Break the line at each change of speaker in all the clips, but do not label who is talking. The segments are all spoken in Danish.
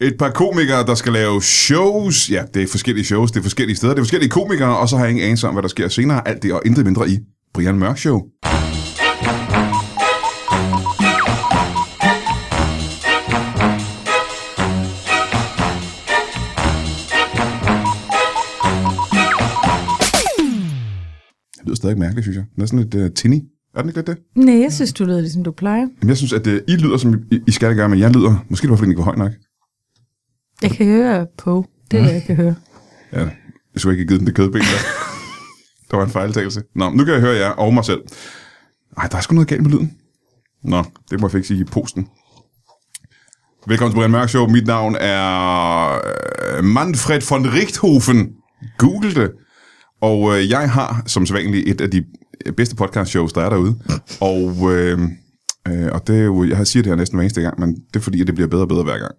Et par komikere, der skal lave shows. Ja, det er forskellige shows, det er forskellige steder, det er forskellige komikere, og så har jeg ingen anelse om, hvad der sker senere. Alt det og intet mindre i Brian Mørk Show. Det lyder stadig mærkeligt, synes jeg. Den er sådan lidt uh, tinny. Er den ikke lidt det?
Nej, jeg synes, du lyder ligesom du plejer.
Jamen, jeg synes, at uh, I lyder, som I, I skal gøre, men jeg lyder... Måske det var, fordi den ikke var høj nok.
Jeg kan høre på. Det er det, jeg kan høre.
Ja, jeg skulle ikke have givet den det kødben der. der var en fejltagelse. Nå, nu kan jeg høre jer og mig selv. Ej, der er sgu noget galt med lyden. Nå, det må jeg fikse i posten. Velkommen til Brian Mørk Show. Mit navn er øh, Manfred von Richthofen. Google det. Og øh, jeg har som sædvanligt et af de øh, bedste podcast shows, der er derude. Og, øh, øh, og det er jo, jeg siger det her næsten hver eneste gang, men det er fordi, at det bliver bedre og bedre hver gang.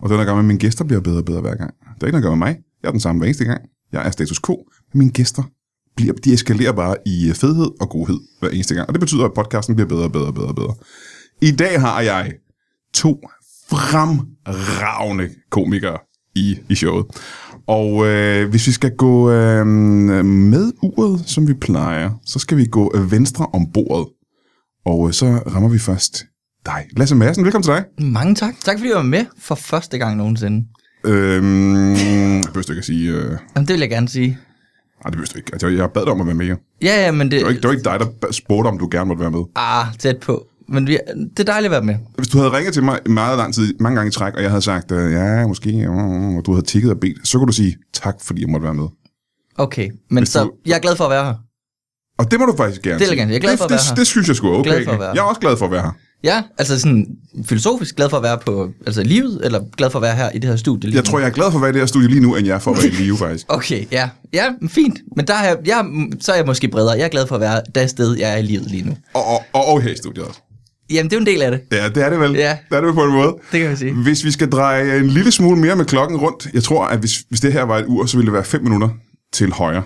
Og det er noget at gøre med, at mine gæster bliver bedre og bedre hver gang. Det er ikke noget at gøre med mig. Jeg er den samme hver eneste gang. Jeg er status quo. Men mine gæster, bliver, de eskalerer bare i øh, fedhed og godhed hver eneste gang. Og det betyder, at podcasten bliver bedre og bedre og bedre og bedre. I dag har jeg to fremragende komikere i, i showet. Og øh, hvis vi skal gå øh, med uret, som vi plejer, så skal vi gå øh, venstre om bordet. Og øh, så rammer vi først dig. Lasse Madsen, velkommen til dig.
Mange tak. Tak fordi du var med for første gang nogensinde.
Øhm, jeg behøver ikke at sige... Øh,
Jamen, det vil jeg gerne sige.
nej, det behøver du ikke. Altså, jeg bad dig om at være med. jo. Det
Ja, ja, men det...
var, ikke, det var ikke dig, der ba- spurgte, om du gerne måtte være med.
Ah, tæt på. Men vi, det er dejligt at være med.
Hvis du havde ringet til mig meget lang tid, mange gange i træk, og jeg havde sagt, øh, ja, måske, mm, mm, og du havde tikket og bedt, så kunne du sige, tak, fordi jeg måtte være med.
Okay, men
Hvis
så...
du-
Jeg er glad for at være her.
Og det må du faktisk gerne
Det vil jeg
sige.
gerne. Jeg er glad for at
det,
være her.
det, det, synes jeg sgu er okay.
Glad for at være her.
jeg er også glad for at være her.
Ja, altså sådan filosofisk glad for at være på altså livet, eller glad for at være her i det her studie. lige
Jeg
nu?
tror, jeg er glad for at være i det her studie lige nu, end jeg er for at være i live, faktisk.
Okay, ja. Ja, men fint. Men der er jeg, jeg, mm, så er jeg måske bredere. Jeg er glad for at være det sted, jeg er i livet lige nu.
Og, og, og, og her i studiet også.
Jamen, det er jo en del af det.
Ja, det er det vel.
Ja.
Det er det vel på en måde.
Det kan vi sige.
Hvis vi skal dreje en lille smule mere med klokken rundt, jeg tror, at hvis, hvis det her var et ur, så ville det være 5 minutter til højre.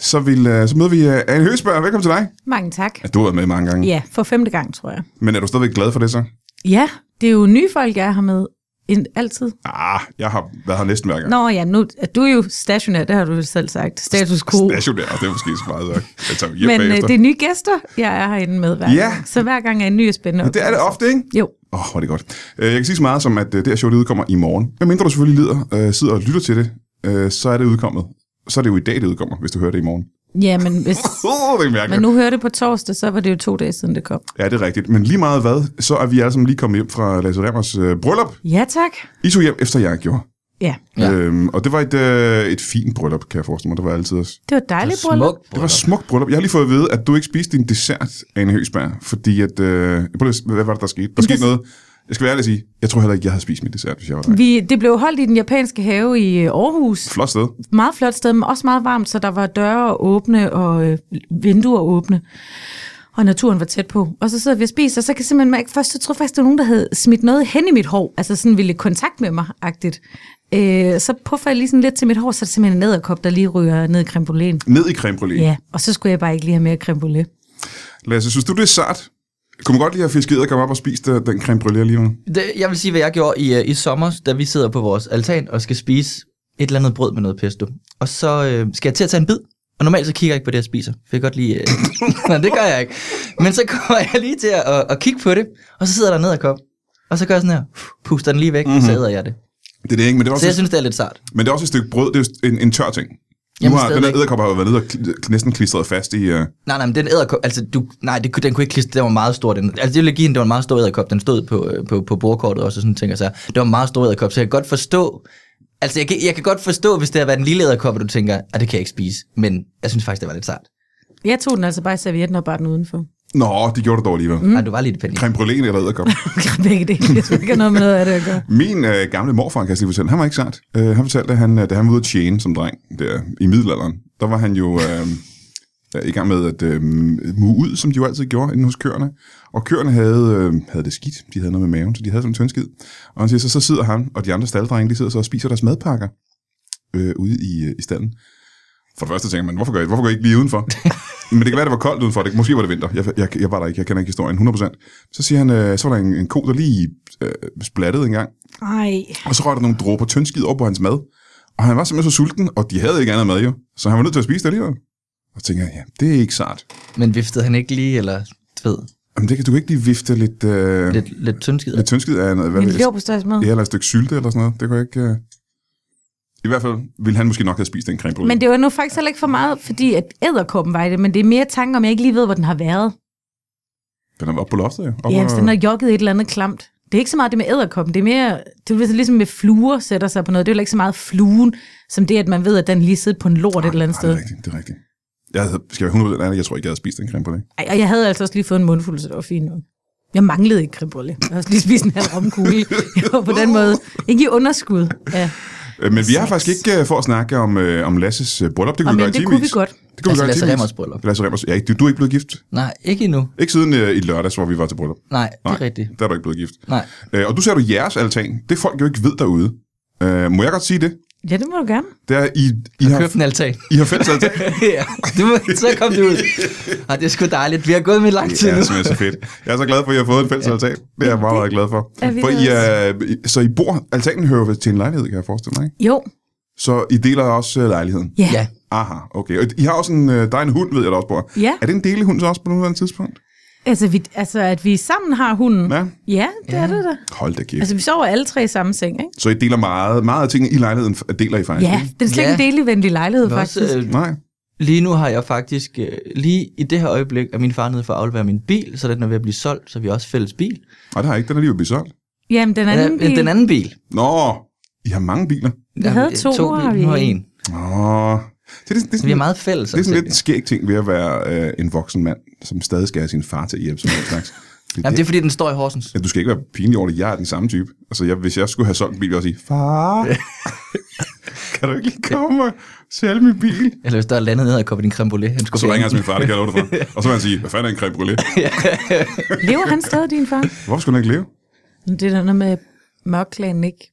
Så, vil, øh, så møder vi øh, Anne Høsberg. Velkommen til dig.
Mange tak.
Ja, du har været med mange gange,
Ja, for femte gang, tror jeg.
men er du stadigvæk glad for det så?
Ja, det er jo nye folk, jeg har med end altid.
Ah, jeg har været her næsten hver gang.
Nå ja, nu, du er jo stationær, det har du vel selv sagt. Status quo.
Stationær, det er måske så meget sagt. Jeg tager hjem
Men øh,
bagefter.
det er nye gæster, jeg er herinde med hver
Ja.
gang. Så hver gang er en ny og spændende.
Men det er det ofte, ikke?
Jo,
Åh, oh, hvor er det godt. Øh, Jeg kan sige så meget som, at øh, det her show, det udkommer i morgen. Men mindre du selvfølgelig lider, øh, sidder og lytter til det, øh, så er det udkommet. Så er det jo i dag, det udkommer, hvis du hører det i morgen.
ja, men hvis
Oh, det er mærkeligt.
man nu hører det på torsdag, så var det jo to dage siden, det kom.
Ja, det er rigtigt. Men lige meget hvad, så er vi alle sammen lige kommet hjem fra Lasse Remmers øh, bryllup.
Ja, tak.
I tog hjem, efter jeg gjorde.
Ja,
Ja.
Ja. Øhm, og det var et, øh, et fint bryllup, kan jeg forestille mig. Det var altid også.
det var dejligt, bryllup.
Smukt.
Det var et smukt bryllup. Jeg har lige fået at vide, at du ikke spiste din dessert, Anne Høsberg, fordi at... Øh, prøv lige, at se, hvad var det, der skete? Der skete noget. Jeg skal være ærlig og sige, jeg tror heller ikke, jeg havde spist min dessert, hvis jeg var dig.
Vi, det blev holdt i den japanske have i øh, Aarhus.
Flot sted.
Meget flot sted, men også meget varmt, så der var døre åbne og øh, vinduer åbne. Og naturen var tæt på. Og så sidder vi og spiser, og så kan jeg simpelthen mærke, først så troede jeg faktisk, der var nogen, der havde smidt noget hen i mit hår. Altså sådan ville i kontakt med mig-agtigt. Øh, så puffer jeg lige sådan lidt til mit hår, så er det simpelthen en æderkop, der lige ryger ned i creme bruléen.
Ned i creme brûlée.
Ja, og så skulle jeg bare ikke lige have mere creme brulee.
Lasse, synes du, det er sart? Kunne man godt lige have fisket og komme op og spist øh, den creme brûlée alligevel?
Det, jeg vil sige, hvad jeg gjorde i, øh, i sommer, da vi sidder på vores altan og skal spise et eller andet brød med noget pesto. Og så øh, skal jeg til at tage en bid, og normalt så kigger jeg ikke på det, jeg spiser. For jeg kan godt lige... Øh... Nej, det gør jeg ikke. Men så kommer jeg lige til at, at, at kigge på det, og så sidder der ned og kom. Og så gør jeg sådan her, puster den lige væk, mm-hmm. så æder jeg det.
Det er det ikke, men det er
Så
også,
jeg synes, det er lidt sart.
men det er også et stykke brød. Det er jo en, en tør ting. Jamen, nu
Jamen,
har, den der
stadigvæk.
æderkop har jo været nede og kl- næsten klistret fast i... Øh,
Nej, nej, men den æderkop, altså du, nej, det, kunne- den kunne ikke klistre, den var meget stor. Den, altså det ville give hende, det var en meget stor æderkop, den stod på, øh, på, på bordkortet også, og sådan tænker sig. Det var en meget stor æderkop, så jeg kan godt forstå, altså jeg kan, jeg kan godt forstå, hvis det havde været en lille æderkop, og du tænker, at det kan jeg ikke spise, men jeg synes faktisk, det var lidt sart.
Jeg tog den altså bare i servietten og bare den udenfor.
Nå, det gjorde det dog alligevel. Mm.
Nej, du var lidt panik.
Creme brûléen eller æderkop.
Begge dele. Jeg tror ikke, jeg har noget med noget af det at gøre.
Min øh, gamle morfar, kan jeg lige fortælle, han var ikke sart. Øh, han fortalte, at han, øh, da han var ude at tjene som dreng der, i middelalderen, der var han jo øh, øh, i gang med at øh, muge ud, som de jo altid gjorde inde hos køerne. Og køerne havde, øh, havde det skidt. De havde noget med maven, så de havde sådan en tyndskid. Og han siger, så, så sidder han og de andre stalddrenge, de sidder så og spiser deres madpakker øh, ude i, øh, i stallen. For det første tænker man, hvorfor gør I, hvorfor går I ikke lige udenfor? Men det kan være, det var koldt udenfor. Det, måske var det vinter. Jeg, jeg, jeg var der ikke. Jeg kender ikke historien 100%. Så siger han, øh, så var der en, en ko, der lige øh, splattede en gang.
Ej.
Og så røg der nogle dråber tyndskid op på hans mad. Og han var simpelthen så sulten, og de havde ikke andet mad jo. Så han var nødt til at spise det alligevel. Og så tænker jeg, ja, det er ikke sart.
Men viftede han ikke lige, eller du ved,
Jamen, det kan du ikke lige vifte lidt, øh, lidt,
lidt, lidt tyndskid?
lidt tyndskid af noget. Hvad
Min
ved jeg,
lever på størrelse med.
Ja, eller et stykke sylte eller sådan noget. Det kunne jeg ikke... Øh... I hvert fald ville han måske nok have spist den creme brulee.
Men det var nu faktisk heller ikke for meget, fordi at æderkoppen var i det, men det er mere tanken om, jeg ikke lige ved, hvor den har været.
Den er oppe på loftet, jo. Oppe
Ja, hvis
og-
den har jogget et eller andet klamt. Det er ikke så meget det med æderkoppen, det er mere, det er ligesom med fluer sætter sig på noget. Det er jo ikke så meget fluen, som det, at man ved, at den lige sidder på en lort et eller andet
Nej, det er
sted.
rigtigt, det er rigtigt. Jeg havde, skal jeg være 100% ærlig, jeg tror ikke, jeg havde spist den creme brulee.
Ej, og jeg havde altså også lige fået en mundfuld, så det var fint nok. Jeg manglede ikke kribbolle. Jeg havde også lige spist en halv romkugle. Jeg var på den måde ikke i underskud. Ja.
Øh, Men vi er faktisk ikke øh, for at snakke om, øh, om Lasses øh, bryllup. Det kunne
Og
vi gøre
men
i
det kunne vi
timevis.
godt.
Det kunne
Lasse-
vi
Lasse
gøre i
Remmers
timevis.
bryllup.
Lasse Remmers. Ja, du, du er ikke blevet gift.
Nej, ikke endnu.
Ikke siden øh, i lørdags, hvor vi var til bryllup.
Nej, det
Nej.
er rigtigt.
Der er du ikke blevet gift.
Nej.
Øh, og du ser du jeres altan. Det folk jo ikke ved derude. Øh, må jeg godt sige det?
Ja, det må du gerne.
Det er, I, I, har,
Køb en altan.
I har fælles altan.
ja, du, så kom du ud. Ej, det er sgu dejligt. Vi har gået med lang tid
Det er
nu.
simpelthen så fedt. Jeg er så glad for, at I har fået en fælles altan. Det er jeg meget, meget glad for.
er vi
for I
også.
er, I- så I bor, altanen hører vel til en lejlighed, kan jeg forestille mig, ikke?
Jo.
Så I deler også øh, lejligheden?
Ja.
Ja,
ja.
Aha, okay. Og I har også en, øh, der er en hund, ved jeg, der også bor.
Ja.
Er det en delehund så også på nuværende tidspunkt?
Altså, vi, altså, at vi sammen har hunden.
Ja.
Ja, det ja. er det da.
Hold da kæft. Altså,
Altså, vi sover alle tre i samme seng, ikke?
så I deler meget, meget af tingene i lejligheden, f- deler I faktisk?
Ja,
ikke?
det er slet ikke en
Ja.
delevenlig lejlighed,
Men også,
faktisk.
øh,
Nej.
Lige nu har jeg faktisk, øh, lige i det her øjeblik, at min far er nede for at aflevere min bil, så den er ved at blive solgt, så vi har også fælles bil.
Og der er ikke, den er lige ved at blive solgt.
Jamen, den anden
ja,
bil,
Den anden bil. øh,
Nå, I har mange biler.
Vi havde to, nu har vi
nu har
en.
en.
Nå. Det er, det, det, er
Så vi er
sådan,
meget fælles. altså.
det er
om
sådan
tingene.
lidt en skæg ting ved at være øh, en voksen mand, som stadig skal have sin far til at hjælpe som helst slags. Det,
Jamen, det er fordi, den står i Horsens.
Ja, du skal ikke være pinlig over det. Jeg er den samme type. Altså, jeg, hvis jeg skulle have solgt en bil, ville jeg også sige, far, kan du ikke lige komme og sælge min bil?
Eller hvis der er landet ned og koppet din creme brulee. Han skulle
Og så
fjerne
ringer han
den.
til min far, det kan jeg love dig for. Og så vil han sige, hvad fanden er en creme brulee?
Lever han stadig, din far?
Hvorfor skulle han ikke leve?
Men Det er der noget med mørklæden, ikke?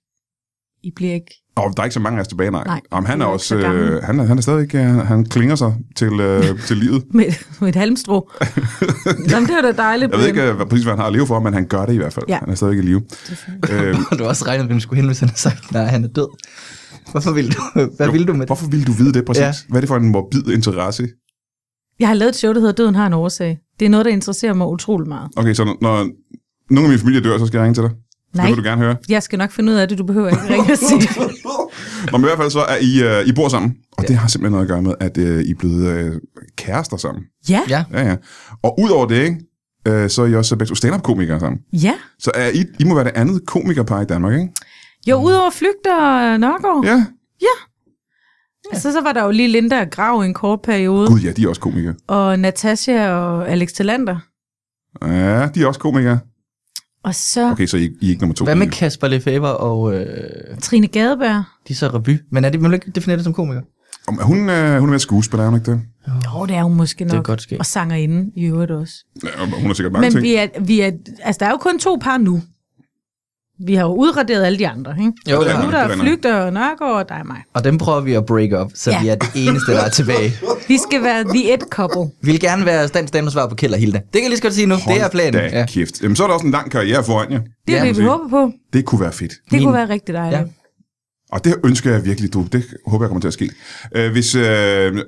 I bliver ikke...
Og der er ikke så mange af os tilbage, nej.
Nej,
Jamen, han
vi
er
er
også,
ikke så gamle.
øh, han, er, han er stadig ikke, øh, han klinger sig til, øh, til livet.
Med, med et halmstrå. Jamen, det var da dejligt.
Jeg ved
Brian.
ikke øh, hvad- præcis, hvad han har at leve for, men han gør det i hvert fald.
Ja.
Han er stadig i live. Øh,
Og du har også regnet, hvem skulle hen, hvis han havde sagt, nej, han er død. Hvorfor vil du? Hvad vil du med det?
Øhm, hvorfor ville du vide det præcis? Ja.
Ja.
Hvad er det for en morbid interesse?
Jeg har lavet et show, der hedder Døden har en årsag. Det er noget, der interesserer mig utrolig meget.
Okay, så når, når nogen af min familie dør, så skal jeg ringe til dig?
Nej.
Det vil du gerne høre.
Jeg skal nok finde ud af det, du behøver ikke ringe og sige det.
Nå, men i hvert fald så er I, øh, I bor sammen, og ja. det har simpelthen noget at gøre med, at øh, I er blevet øh, kærester sammen.
Ja,
Ja.
Ja, ja. Og udover det, ikke, øh, så er I også begge to stand-up-komikere sammen.
ja.
Så er I, I må være det andet komikerpar i Danmark, ikke?
Jo, udover flygt og Nørgaard.
Uh.
Ja.
Ja.
Altså, så var der jo lige Linda og Grav i en kort periode,
Gud, ja, de er også komikere.
og Natasha og Alex Talander.
Ja, de er også komikere.
Og så okay.
Okay, så I, I er ikke nummer to.
Hvad med
I-
Kasper Lefebvre og øh,
Trine Gadeberg.
de er så revy? Men er det, man vil ikke definere det som komiker?
Om- er Hun, øh, hun er mere skuespiller, er hun ikke det?
Jo, det er hun måske nok.
Det kan godt ske.
Og sangerinde i øvrigt også.
Ja, hun har sikkert mange
Men
ting.
vi er, vi er, altså, der er jo kun to par nu. Vi har jo udraderet alle de andre, ikke?
Jo, det
er
har
Nu
vi.
vi.
der
det
er
er
Flygter og Nørgaard og dig og mig.
og dem prøver vi at break up, så
Ja.
ja. vi er det eneste, der er tilbage.
Vi skal være the et couple.
Vi vil gerne være stand stand og svar på Kjeld og Hilda. Det kan jeg lige så godt sige nu. det er planen.
Da ja. kæft. Jamen, så er der også en lang karriere foran jer.
Det er
Ja,
det, vi
præcis.
håber på.
Det kunne være fedt.
Det
Min-
kunne være rigtig dejligt.
Ja.
Ja.
Og det ønsker jeg virkelig, du. Det håber jeg kommer til at ske. Øh, hvis, øh,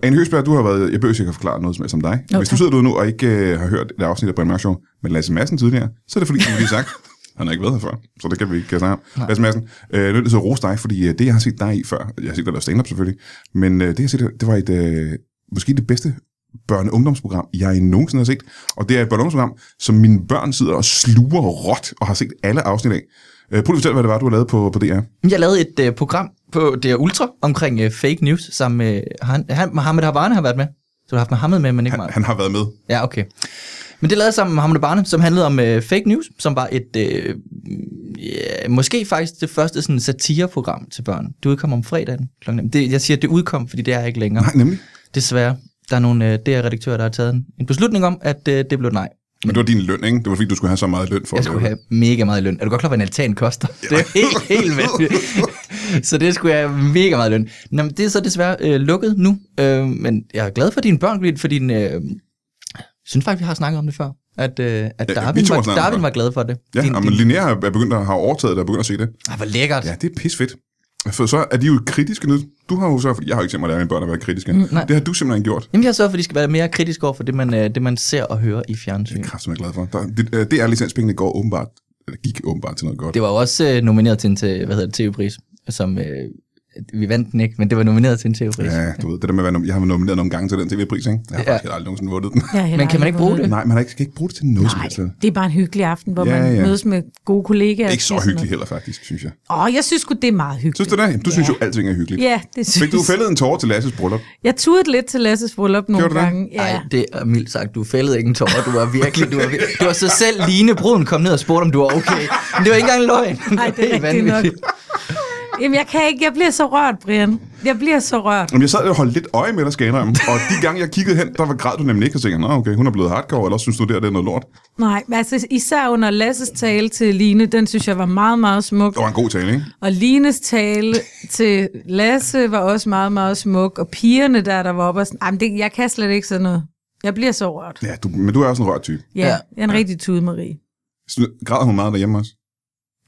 Anne Høsberg, du har været, jeg behøver sikkert forklare noget som helst om dig. Okay. Hvis du
tak.
sidder derude nu og ikke øh, har hørt det afsnit af Brian Mørk Show med Lasse Madsen tidligere, så er det fordi, som vi lige har sagt, han har ikke været her før, så det kan vi ikke snakke om. Lasse Madsen, øh, jeg er nødt til at rose dig, fordi øh, det, jeg har set dig i før, jeg har set dig lave stand-up selvfølgelig, men øh, det, jeg har set, det var et, øh, måske det bedste børne- og ungdomsprogram, jeg nogensinde har set. Og det er et børne- og ungdomsprogram, som mine børn sidder og sluger råt og har set alle afsnit af. Øh, prøv lige at fortælle, hvad det var, du har lavet på, på DR.
Jeg lavede et øh, program på DR Ultra omkring øh, fake news, som øh, han, han, Mohammed Havane har været med. Så du har haft Mohammed med, men ikke mig.
Han har været med.
Ja, okay. Men det lavede jeg sammen med Mohammed Barne, som handlede om øh, fake news, som var et, øh, ja, måske faktisk det første sådan, satireprogram til børn. Det udkom om fredagen kl. 19. Det, jeg siger, at det udkom, fordi det er ikke længere.
Nej, nemlig.
Desværre. Der er nogle øh, DR-redaktører, der har taget en, en beslutning om, at øh, det blev et nej.
Men det var din løn, ikke? Det var fordi, du skulle have så meget løn for
Jeg
at
skulle
lave
have mega meget i løn. Er du godt klar, hvad en altan koster? Det er helt, helt vanvittigt. så det skulle jeg mega meget løn. Nå, men det er så desværre øh, lukket nu, øh, men jeg er glad for dine børn, fordi- for din... Øh, synes faktisk, vi har snakket om det før, at, øh, at
vi to har
Darwin,
snakket
var,
om det
Darwin
før.
var glad for det.
Ja, men Linnea er begyndt at have overtaget det og begyndt at se det.
Ej, hvor lækkert.
Ja, det er pisfedt. For så er de jo kritiske nu. Du har jo så, jeg har jo ikke set mig lære mine børn at være kritiske. Mm,
nej.
det har du simpelthen gjort.
Jamen, jeg sørger for, at de skal være mere kritiske over for det, man, øh, det, man ser og hører i fjernsyn.
Kræft, jeg er glad for. Der, det, øh, det er licenspengene går åbenbart, eller gik åbenbart til noget godt.
Det var jo også øh, nomineret til en til, hvad hedder det, TV-pris, som... Øh, vi vandt den ikke, men det var nomineret til en TV-pris.
Ja, du ved, det der med at være, nom- jeg har været nomineret nogle gange til den tv-pris, ikke? Jeg har
Ja.
faktisk heller aldrig nogensinde vundet den.
Jeg har heller
Men kan
aldrig
man ikke bruge
prøvet
det?
Nej, man har ikke, skal ikke bruge det til noget som helst.
Nej, det er bare en hyggelig aften, hvor
Ja,
man
ja.
mødes med gode kollegaer.
Ikke så hyggeligt heller, faktisk, synes jeg.
Åh, oh, jeg synes sgu, det er meget hyggeligt.
Synes du det? Jamen, Du synes jo, alting er hyggeligt.
Ja, det synes
Fik du fældet en tårer til Lasses bryllup?
Jeg turde lidt til Lasses bryllup nogle
Gjorde du det?
gange. Ja.
Nej, det er mildt sagt. Du fældede ikke en tårer. Du var virkelig... Du var, vir- du var så selv Line Bruden kom ned og spurgte, om du var okay. Men det var ikke engang en løgn.
Nej, det er
helt
rigtigt nok.
vanvittigt.
Jamen, jeg kan ikke. Jeg bliver så rørt, Brian. Jeg bliver så rørt.
Jamen, jeg sad og holdt lidt øje med dig, skal jeg indrømme. Og de gange, jeg kiggede hen, der var græd du nemlig ikke, og tænkte, nå okay, hun er blevet hardcore, eller også synes du, der det er noget lort.
Nej, men altså især under Lasses tale til Line, den synes jeg var meget, meget smuk.
Det var en god tale, ikke?
Og Lines tale til Lasse var også meget, meget smuk. Og pigerne der, der var oppe og sådan, "Ej, men det, jeg kan slet ikke sådan noget. Jeg bliver så rørt.
Ja, du, men du er også en rørt type.
Ja,
Ja.
ja. jeg er en rigtig tude, Marie.
Sn- Græder hun meget derhjemme også?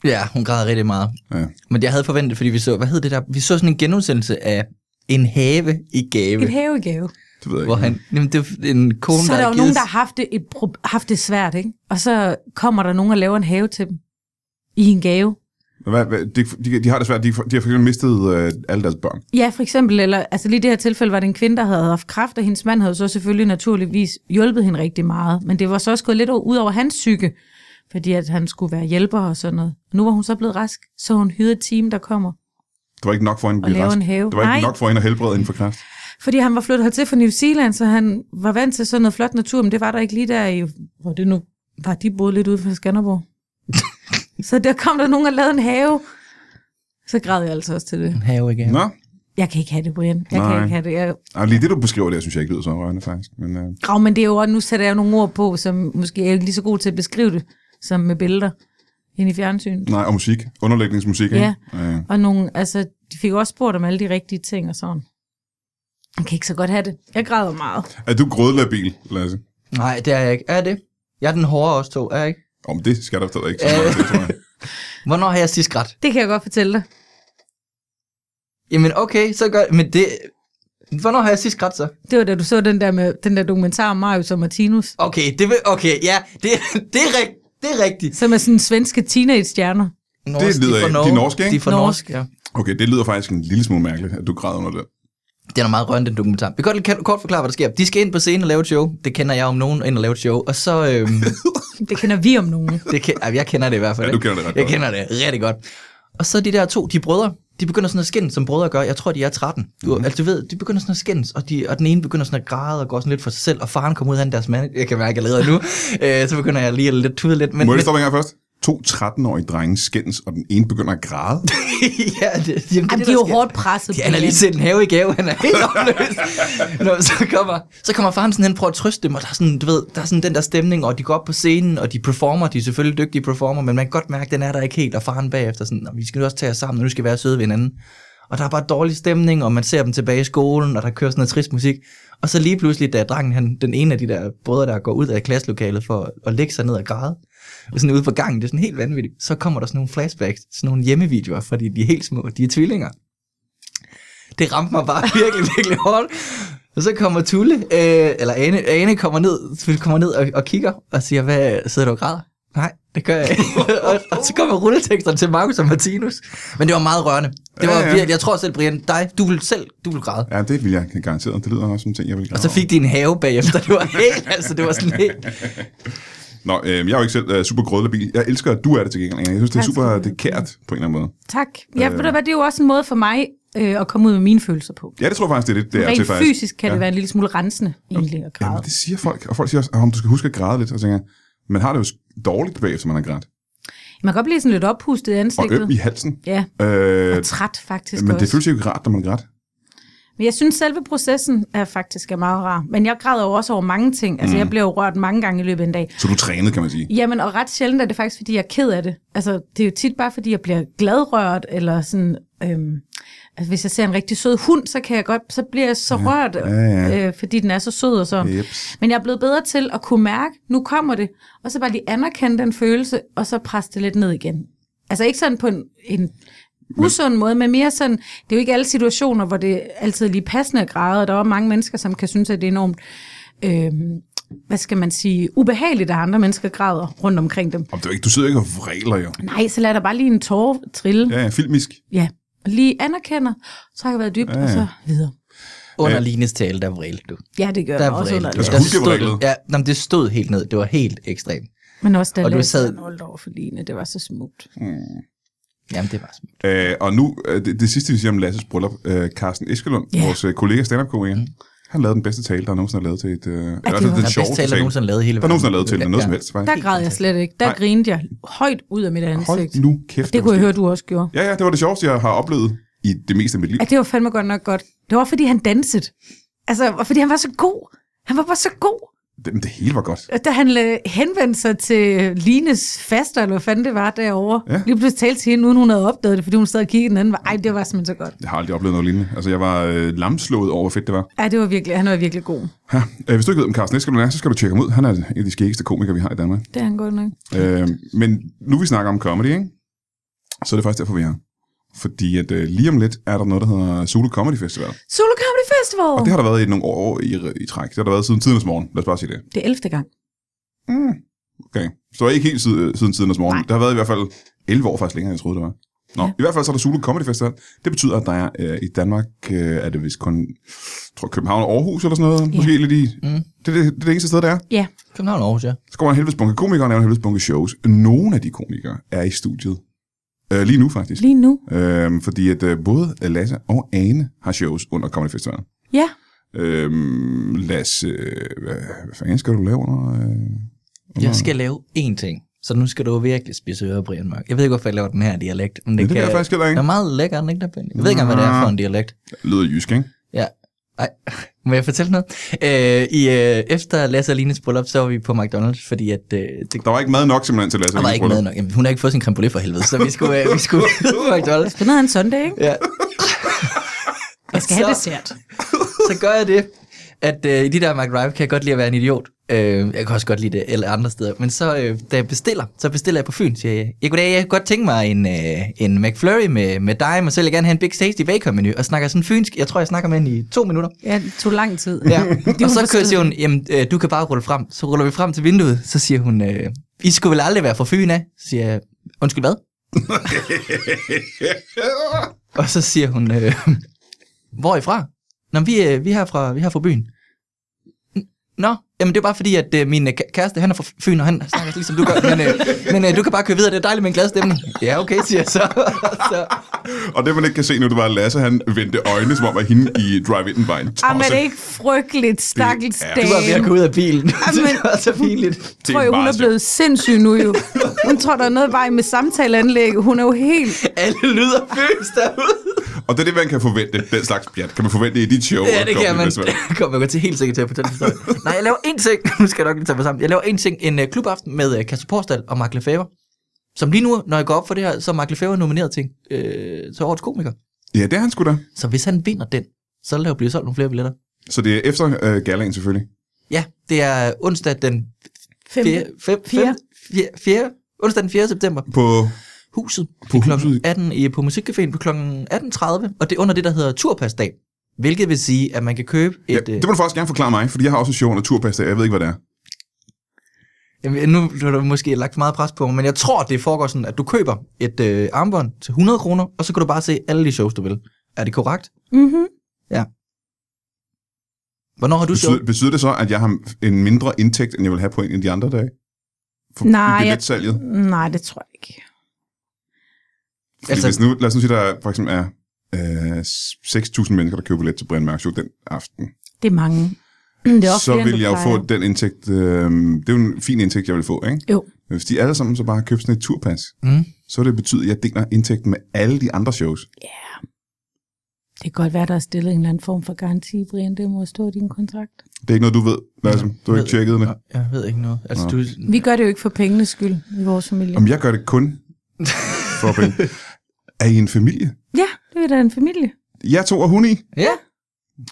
Ja, hun græd rigtig meget.
Ja.
Men jeg havde forventet, fordi vi så... Hvad hed det der? Vi så sådan en genudsendelse af en have i gave.
Et havegave.
Det ved jeg
Hvor
ikke.
han, jamen, det var en kone,
Så er der jo
havde
nogen,
givet-
der har haft det, et, prob- haft det svært, ikke? Og så kommer der nogen og laver en have til dem. I en gave.
Hvad, hvad, de, de, de, har det svært. De, de har for eksempel mistet øh, alle deres børn.
Ja, for eksempel, eller altså lige i det her tilfælde var det en kvinde, der havde haft kræft, og hendes mand havde så selvfølgelig naturligvis hjulpet hende rigtig meget. Men det var så også gået lidt ud over hans psyke, fordi at han skulle være hjælper og sådan noget. Nu var hun så blevet rask, så hun hyrede et team, der kommer.
Det var ikke nok for hende at blive
lave
rask.
en have.
Det var ikke
Nej.
nok for hende at helbrede hende for kræft.
Fordi han var flyttet hertil fra New Zealand, så han var vant til sådan noget flot natur, men det var der ikke lige der i, hvor det nu var, de boede lidt ude fra Skanderborg. så der kom der nogen og lavede en have. Så græd jeg altså også til det.
En have i gave.
Nå,
Jeg kan ikke have det, Brian. Jeg Nej.
Nej.
kan ikke have det. Jeg,
Ej, lige det, du beskriver der, synes jeg ikke lyder så rørende, faktisk. Men, øh,
Grav, men det er jo, nu sætter jeg nogle ord på, som måske er ikke lige så god til at beskrive det, som med billeder ind i fjernsynet.
nej, og musik. Underlægningsmusik,
Ja.
ikke? Øh,
Og nogle, altså, de fik også spurgt om alle de rigtige ting og sådan. Man kan ikke så godt have det. Jeg græder meget.
er du grødlabil, Lasse?
Nej, det er jeg ikke. Er jeg det? Jeg er den hårde også to, er jeg ikke?
Om det skal der stadig ikke så meget til, tror jeg.
Hvornår har jeg sidst grædt?
Det kan jeg godt fortælle dig.
Jamen okay, så gør Men det... Hvornår har jeg sidst grædt så?
Det var da du så den der, med, den der dokumentar om Marius og Martinus,
Okay, det vil, okay, ja, det, det, er, rigt, det er rigtigt.
som er sådan svenske teenage-stjerner.
Norsk,
Det lyder
de er fra
af-
Norge.
de er norske, ikke?
De er fra
Norsk.
norsk, ja.
Okay, det lyder faktisk en lille smule mærkeligt, at du græder under det.
Den er meget rørende, den dokumentar. Vi kan godt kan- kort forklare, hvad der sker. De skal ind på scenen og lave et show. Det kender jeg om nogen, ind og lave et show. Og så... Øhm,
Det kender vi om nogen.
det kan, Ej, jeg kender det i hvert fald.
Ja, du
ikke?
kender det ret
Jeg
godt.
kender det rigtig godt. Og så de der to, de er brødre, de begynder sådan at skændes, som brødre gør. Jeg tror, de er 13. Du, mm. altså, du ved, de begynder sådan at skændes, og, de, og den ene begynder sådan at græde og går sådan lidt for sig selv, og faren kommer ud af deres mand. Jeg kan mærke, at jeg leder nu. øh, så begynder jeg lige at lidt tude lidt. Men,
Må jeg
men,
lige stoppe en gang først? To 13-årige drenge skændes, og den ene begynder at græde.
ja, det, jamen, det,
Jamen,
det,
de er jo
der sker.
hårdt presset.
Ja, han har
Brian.
lige set en have i gave, han er helt opløst. Nå, så, kommer, så kommer faren sådan hen og prøver at trøste dem, og der er, sådan, du ved, der er sådan den der stemning, og de går op på scenen, og de performer, de er selvfølgelig dygtige performer, men man kan godt mærke, at den er der ikke helt, og faren bagefter sådan, "Nå, vi skal nu også tage os sammen, og nu skal vi være søde ved hinanden. Og der er bare dårlig stemning, og man ser dem tilbage i skolen, og der kører sådan noget trist musik. Og så lige pludselig, da drengen, han, den ene af de der brødre, der går ud af klasselokalet for at lægge sig ned og græde, og sådan ude på gangen, det er sådan helt vanvittigt, så kommer der sådan nogle flashbacks, sådan nogle hjemmevideoer, fordi de er helt små, de er tvillinger det ramte mig bare virkelig, virkelig hårdt. Og så kommer Tulle, øh, eller Ane, Ane kommer ned, Tulle kommer ned og, og kigger og siger, hvad sidder du og græder? Nej, det gør jeg ikke. og, og, så kommer rulleteksterne til Markus og Martinus. Men det var meget rørende. Det
Ja,
var ja,
ja.
ja. virkelig, jeg tror selv, Brian, dig, du vil selv, du vil græde.
Ja, det vil jeg garantere. Det lyder også som en ting, jeg vil
Og så fik de en have bagefter. Det var helt, altså det var sådan helt...
Nå, øh, jeg er jo ikke selv øh, super grødlabil. Jeg elsker, at du er det til gengæld. Inger. Jeg synes, det er
Tak
super
skal du
det er kært på en eller anden måde.
Tak. Ja, ved du hvad, det er jo også en måde for mig øh, at komme ud med mine følelser på.
Ja, det tror jeg faktisk, det er det, det er til,
Rent
faktisk.
fysisk kan det være en lille smule rensende, egentlig, at græde.
Jamen, det siger folk. Og folk siger også, om du skal huske at græde lidt. Og så tænker jeg, man har det jo sk- dårligt bagefter, man har grædt.
Man kan godt blive sådan lidt oppustet i
Og øm
ansigtet.
i halsen.
Ja,
Øh,
og træt faktisk
men det
også.
føles jo ikke rart, når man grædt.
Men jeg synes, selve processen er faktisk er meget rar. Men jeg græder jo også over mange ting. Altså, mm. jeg bliver jo rørt mange gange i løbet af en dag.
Så du trænede, kan man sige.
Jamen, og ret sjældent er det faktisk, fordi jeg er ked af det. Altså, det er jo tit bare, fordi jeg bliver gladrørt, eller sådan... Øhm, altså, hvis jeg ser en rigtig sød hund, så kan jeg godt, så bliver jeg så ja, rørt,
ja,
Øh, fordi den er så sød og sådan.
Jeps.
Men jeg er blevet bedre til at kunne mærke, nu kommer det, og så bare lige anerkende den følelse, og så presse det lidt ned igen. Altså ikke sådan på en, en usund måde, men mere sådan, det er jo ikke alle situationer, hvor det altid er lige passende at græde, og der er også mange mennesker, som kan synes, at det er enormt, øh, hvad skal man sige, ubehageligt, at andre mennesker græder rundt omkring dem.
Om det er jo ikke, du sidder ikke og vræler jo.
Nej, så lad der bare lige en tårer trille. Ja.
Ja, ja, filmisk.
ja. Og lige anerkender, så har jeg været dybt, ja,
Ja,
ja. og
ja.
så videre.
Under Lines tale, der vrel du.
Ja, det gør
Der
jeg også
vrel
under
du.
Altså,
det.
hun blev
stod
vrælet.
det- Ja, jamen, det stod helt ned. Det var helt ekstremt.
Men også da
Og du
jeg
sad-
sad... holdt over for Line, det var så smukt.
Jamen, det var smukt.
Øh, og nu, øh, det, det sidste vi siger om Lasses bryllup, øh, Carsten Eskelund,
Ja.
vores øh, kollega stand up mm. han lavede den bedste tale, der nogensinde er lavet til et... Øh, ja,
var-
den,
Den
den
Den bedste
sjoveste
tale,
tale,
der nogensinde er lavet i hele
der nogensinde er lavet til den, noget som helst. Faktisk.
Der græd jeg slet ikke. Der
Nej.
Nej. grinede jeg højt ud af mit ansigt.
Hold nu kæft.
Det kunne jeg
var
høre, du også gjorde.
skægt. Ja, ja, det var det sjoveste, jeg har oplevet i det meste af mit liv.
Ja, det var fandme godt nok godt. Det var, fordi han dansede. Altså, og fordi han var så god. Han var bare så god.
Det, men det hele var godt.
At Da han øh, henvendte sig til Lines faster, eller hvad fanden det var derovre,
Ja.
ja. lige pludselig talte til hende, uden hun havde opdaget det, fordi hun sad og kiggede den anden. vej. Ej, det var simpelthen så godt.
Jeg har aldrig oplevet noget lignende. Altså, jeg var øh, lamslået over, hvor fedt det var.
Ja, det var virkelig, han var virkelig god.
Ja, øh, hvis du ikke ved, om Carsten Eskelund er, så skal du tjekke ham ud. Han er en af de skæggeste komikere, vi har i Danmark.
Det er han godt nok.
Øh, men nu vi snakker om comedy, ikke? så er det faktisk derfor, vi er her. Fordi at øh, lige om lidt er der noget, der hedder Zulu Comedy Festival.
Solo Comedy Festival!
Og det har der været i nogle år i, i træk. Det har der været siden tidens morgen. Lad os bare sige det. Mm.
Det er 11. gang.
Okay. Så det er ikke helt siden, øh, siden tidens morgen. Nej. Det har været i hvert fald 11 år faktisk længere, end jeg troede, det var. Nå, ja. i hvert fald så er der Zulu Comedy Festival. Det betyder, at der er øh, i Danmark, øh, er det vist kun, jeg tror København og Aarhus eller sådan noget. Ja.
Ja.
Måske lidt i, mm. det, er det, det er det eneste sted, der er.
Ja,
København og Aarhus, ja.
Så kommer en helvedes bunke komikere og laver en helvedes bunke shows. Nogle af de komikere er i studiet. Øh, lige nu faktisk.
lige nu.
Øhm, fordi at øh, både Lasse og Ane har shows under Comedy Festivalen.
Ja,
Øhm, Lasse, øh, hvad, hvad fanden skal du lave under? Øh,
Jeg skal lave én ting, så nu skal du virkelig spise ører, Brian Mørk. Jeg ved ikke, hvorfor jeg laver den her dialekt. Men det,
det ved jeg faktisk heller ikke.
Den er meget lækker, er den ikke der, Benny? Jeg ved ikke engang, hvad det er for en dialekt.
lyder jysk, ikke?
Ja. Ej, må jeg fortælle noget? Øh, i, øh, efter Lasse og Lines bryllup, så var vi på McDonald's, fordi at, øh, det,
Der var ikke mad nok simpelthen til Lasse.
der var ikke mad nok. Jamen, hun har ikke fået sin creme brulee for helvede, så vi skulle, øh, vi skulle på McDonald's.
det er en søndag, ikke?
Ja.
Jeg skal have
Så-
dessert.
så gør jeg det, at øh, i de der McRive kan jeg godt lide at være en idiot. Øh, jeg kan også godt lide det, eller andre steder. Men så, øh, da jeg bestiller, så bestiller jeg på Fyn, siger jeg, jeg, goddag, jeg kunne godt tænke mig en, øh, en McFlurry med, med dime, og så vil jeg gerne have en Big Tasty Bacon menu, og snakker sådan fynsk. Jeg tror, jeg snakker med hende i to minutter.
Ja, det tog lang tid.
Ja.
Det er
og så
hun
kører siger hun, jamen, øh, du kan bare rulle frem. Så ruller vi frem til vinduet, så siger hun, øh, I skulle vel aldrig være fra Fyn af? Så siger jeg, undskyld hvad? Og så siger hun, øh, hvor er I fra? Nå, men vi, øh, vi, er her fra, vi er her fra byen. "N- Nå, jamen det er bare fordi, at øh, min øh, ka- kæreste, han er fra Fyn, og han snakker ligesom du gør. Men, øh, men øh, du kan bare køre videre, det er dejligt med en glad stemning. Ja, okay, siger jeg så. så
Og det, man ikke kan se nu, det var, at Lasse han vendte øjnene, som om at hende i drive-in var en
Ej, Ah, men er
tosse.
det ikke frygteligt, stakkels
Det er-
dame?
Du
du var ved at gå ud af bilen.
Jamen.
det var så pinligt.
Det er
tror jeg, hun
meget
er blevet sindssyg nu jo. Hun tror, der er noget vej med samtaleanlæg. Hun er jo helt...
Alle lyder føs derude.
Og det er det, man kan forvente, den slags pjat. Kan man forvente i dit show?
Ja,
og
det kan
Comedy
man.
Festival?
Kom, jeg går til helt sikkert til at fortælle historien. Nej, jeg laver én ting. Nu skal jeg nok lige tage mig sammen. Jeg laver én ting. En uh, klubaften med uh, Kasper Porsdal og Mark Lefebvre. Som lige nu, når jeg går op for det her, så er Mark Lefebvre nomineret til, øh, til årets komiker.
Ja, det er han sgu da.
Så hvis han vinder den, så laver bliver solgt nogle flere billetter.
Så det er efter øh, galaen selvfølgelig.
Ja, det er onsdag den
Fem.
4.
Fjerde.
4. 4. Onsdag den 4. september.
På,
Huset.
På
i klokken
Huset.
18 i, på Musikcaféen på kl. 18.30. Og det er under det, der hedder Turpasdag. Hvilket vil sige, at man kan købe et...
ja,
øh,
det må du faktisk gerne forklare mig, fordi jeg har også en show under turpasta. Jeg ved ikke, hvad det er.
Jamen, nu har du måske lagt for meget pres på mig, men jeg tror, det foregår sådan, at du køber et øh, armbånd til 100 kroner, og så kan du bare se alle de shows, du vil. Er det korrekt?
Mm-hmm.
Hvornår har du show?
Betyder, betyder det så, at jeg har en mindre indtægt, end jeg vil have på en af de andre dage? For
Nej,
billetsalget?
Nej, det tror jeg ikke.
Fordi altså,
Altså-
hvis nu, lad os nu sige, der for eksempel er øh, 6.000 mennesker, der køber billet til Brian Mørk Show den aften.
Det er mange. Det er også
så
flere, end
vil
du
jeg jo
plejer.
få den indtægt, øh, det er jo en fin indtægt, jeg vil få, ikke?
Jo.
Men hvis de alle sammen så bare køber sådan et turpas,
Mm.
så vil det betyde, at jeg deler indtægten med alle de andre shows.
Det kan godt være, der er stillet en eller anden form for garanti, Brian. Det må stå i din kontrakt.
Det er ikke noget, du ved, Lasse. Du har ikke
Ved-
tjekket det.
Jeg ved ikke noget. Altså,
Nå.
du,
Vi gør det jo ikke for pengenes skyld i vores familie.
Om jeg gør det kun for penge. Er I en familie?
Ja, det er da en familie.
Jeg to og hun i?
ja,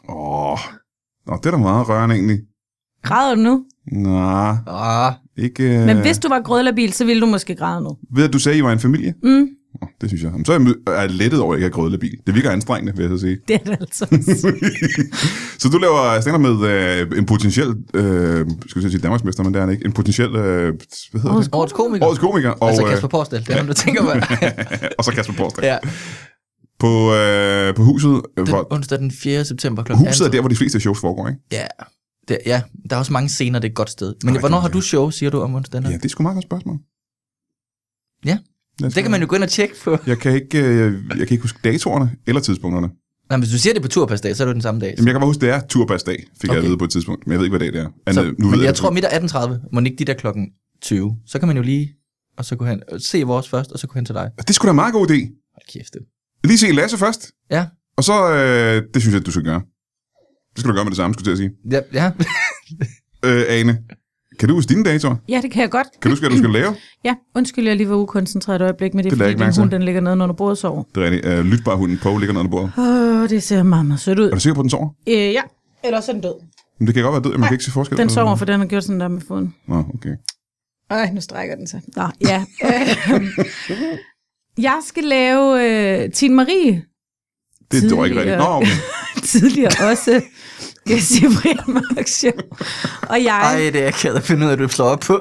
Åh, Nå, det er da meget rørende egentlig.
Græder du nu?
Nej,
ah,
ikke... øh,
Men hvis du var grødlerbil, så ville du måske græde nu.
Ved at du sagde, at I var en familie?
Mm,
Nå, det synes jeg. Jamen, så er jeg mø- er jeg lettet over, at jeg ikke har grødlebil. Det virker anstrengende, vil jeg så sige.
det er det altså også.
så du laver stand med øh, en potentiel, øh, skal jeg sige Danmarksmester, men det er han ikke, en potentiel, øh, hvad hedder det?
årets komiker.
Årets komiker, og,
altså
øh,
Kasper Porsdal, det er ham, der tænker på.
og så Kasper Borgstrøm.
ja,
På, øh, på huset, øh,
den,
hvor,
onsdag den 4. september kl.
huset er der, hvor de fleste shows foregår, ikke?
Ja, det, ja, der er også mange scener, det er et godt sted. Men
Nej,
hvornår
det
har
er-
du show, siger du om onsdagen?
Ja, det er sgu meget godt spørgsmål.
Ja.
Lad os
Det kan man jo gå ind og tjekke på.
Jeg kan, ikke, øh, jeg kan ikke huske datoerne eller tidspunkterne.
Nej, men hvis du siger det på turpasdag, så er det jo den samme dag.
Jamen, jeg kan bare huske, det er turpasdag, fik okay. jeg at
Okay.
vide på et tidspunkt. Men jeg ved ikke, hvad dag det er. Andet,
så,
nu ved
men jeg
det.
tror, midt af 18.30, må den ikke de der klokken 20, så kan man jo lige og så gå hen, og se vores først, og så gå hen til dig.
Det skulle sgu da en meget god idé.
Hold kæft, det.
Lige se Lasse først,
Ja,
og så... Øh, det synes jeg, du skal gøre. Det skal du gøre med det samme, skulle jeg til at sige.
ja, ja.
Øh, Ane, kan du huske dine datoer?
Ja, det kan jeg godt.
Kan du huske, hvad du skal lave?
Ja, undskyld, jeg lige var ukoncentreret et øjeblik, men det er
Det
det
lader
fordi,
ikke mærke
din
til.
hund den ligger nede under bordet og sover.
Det er rigtigt. Øh, lyt bare hunden på, ligger nede under bordet.
Åh, det ser meget, meget sødt ud.
Er du sikker på, at den sover?
Øh, ja, eller så er den død.
Men det kan godt være død, man kan ikke se forskel.
Den sover, for den har gjort sådan der med foden.
Nå, okay.
Ej, nu strækker den sig. Nå, ja. Øhm, jeg skal lave øh, Tine Marie.
Det, det var ikke rigtigt. Nå, okay.
Tidligere også jeg siger Brian Mørk Show. Og
Ej,
jeg,
det er jeg ked af at finde ud af, at du slår op på.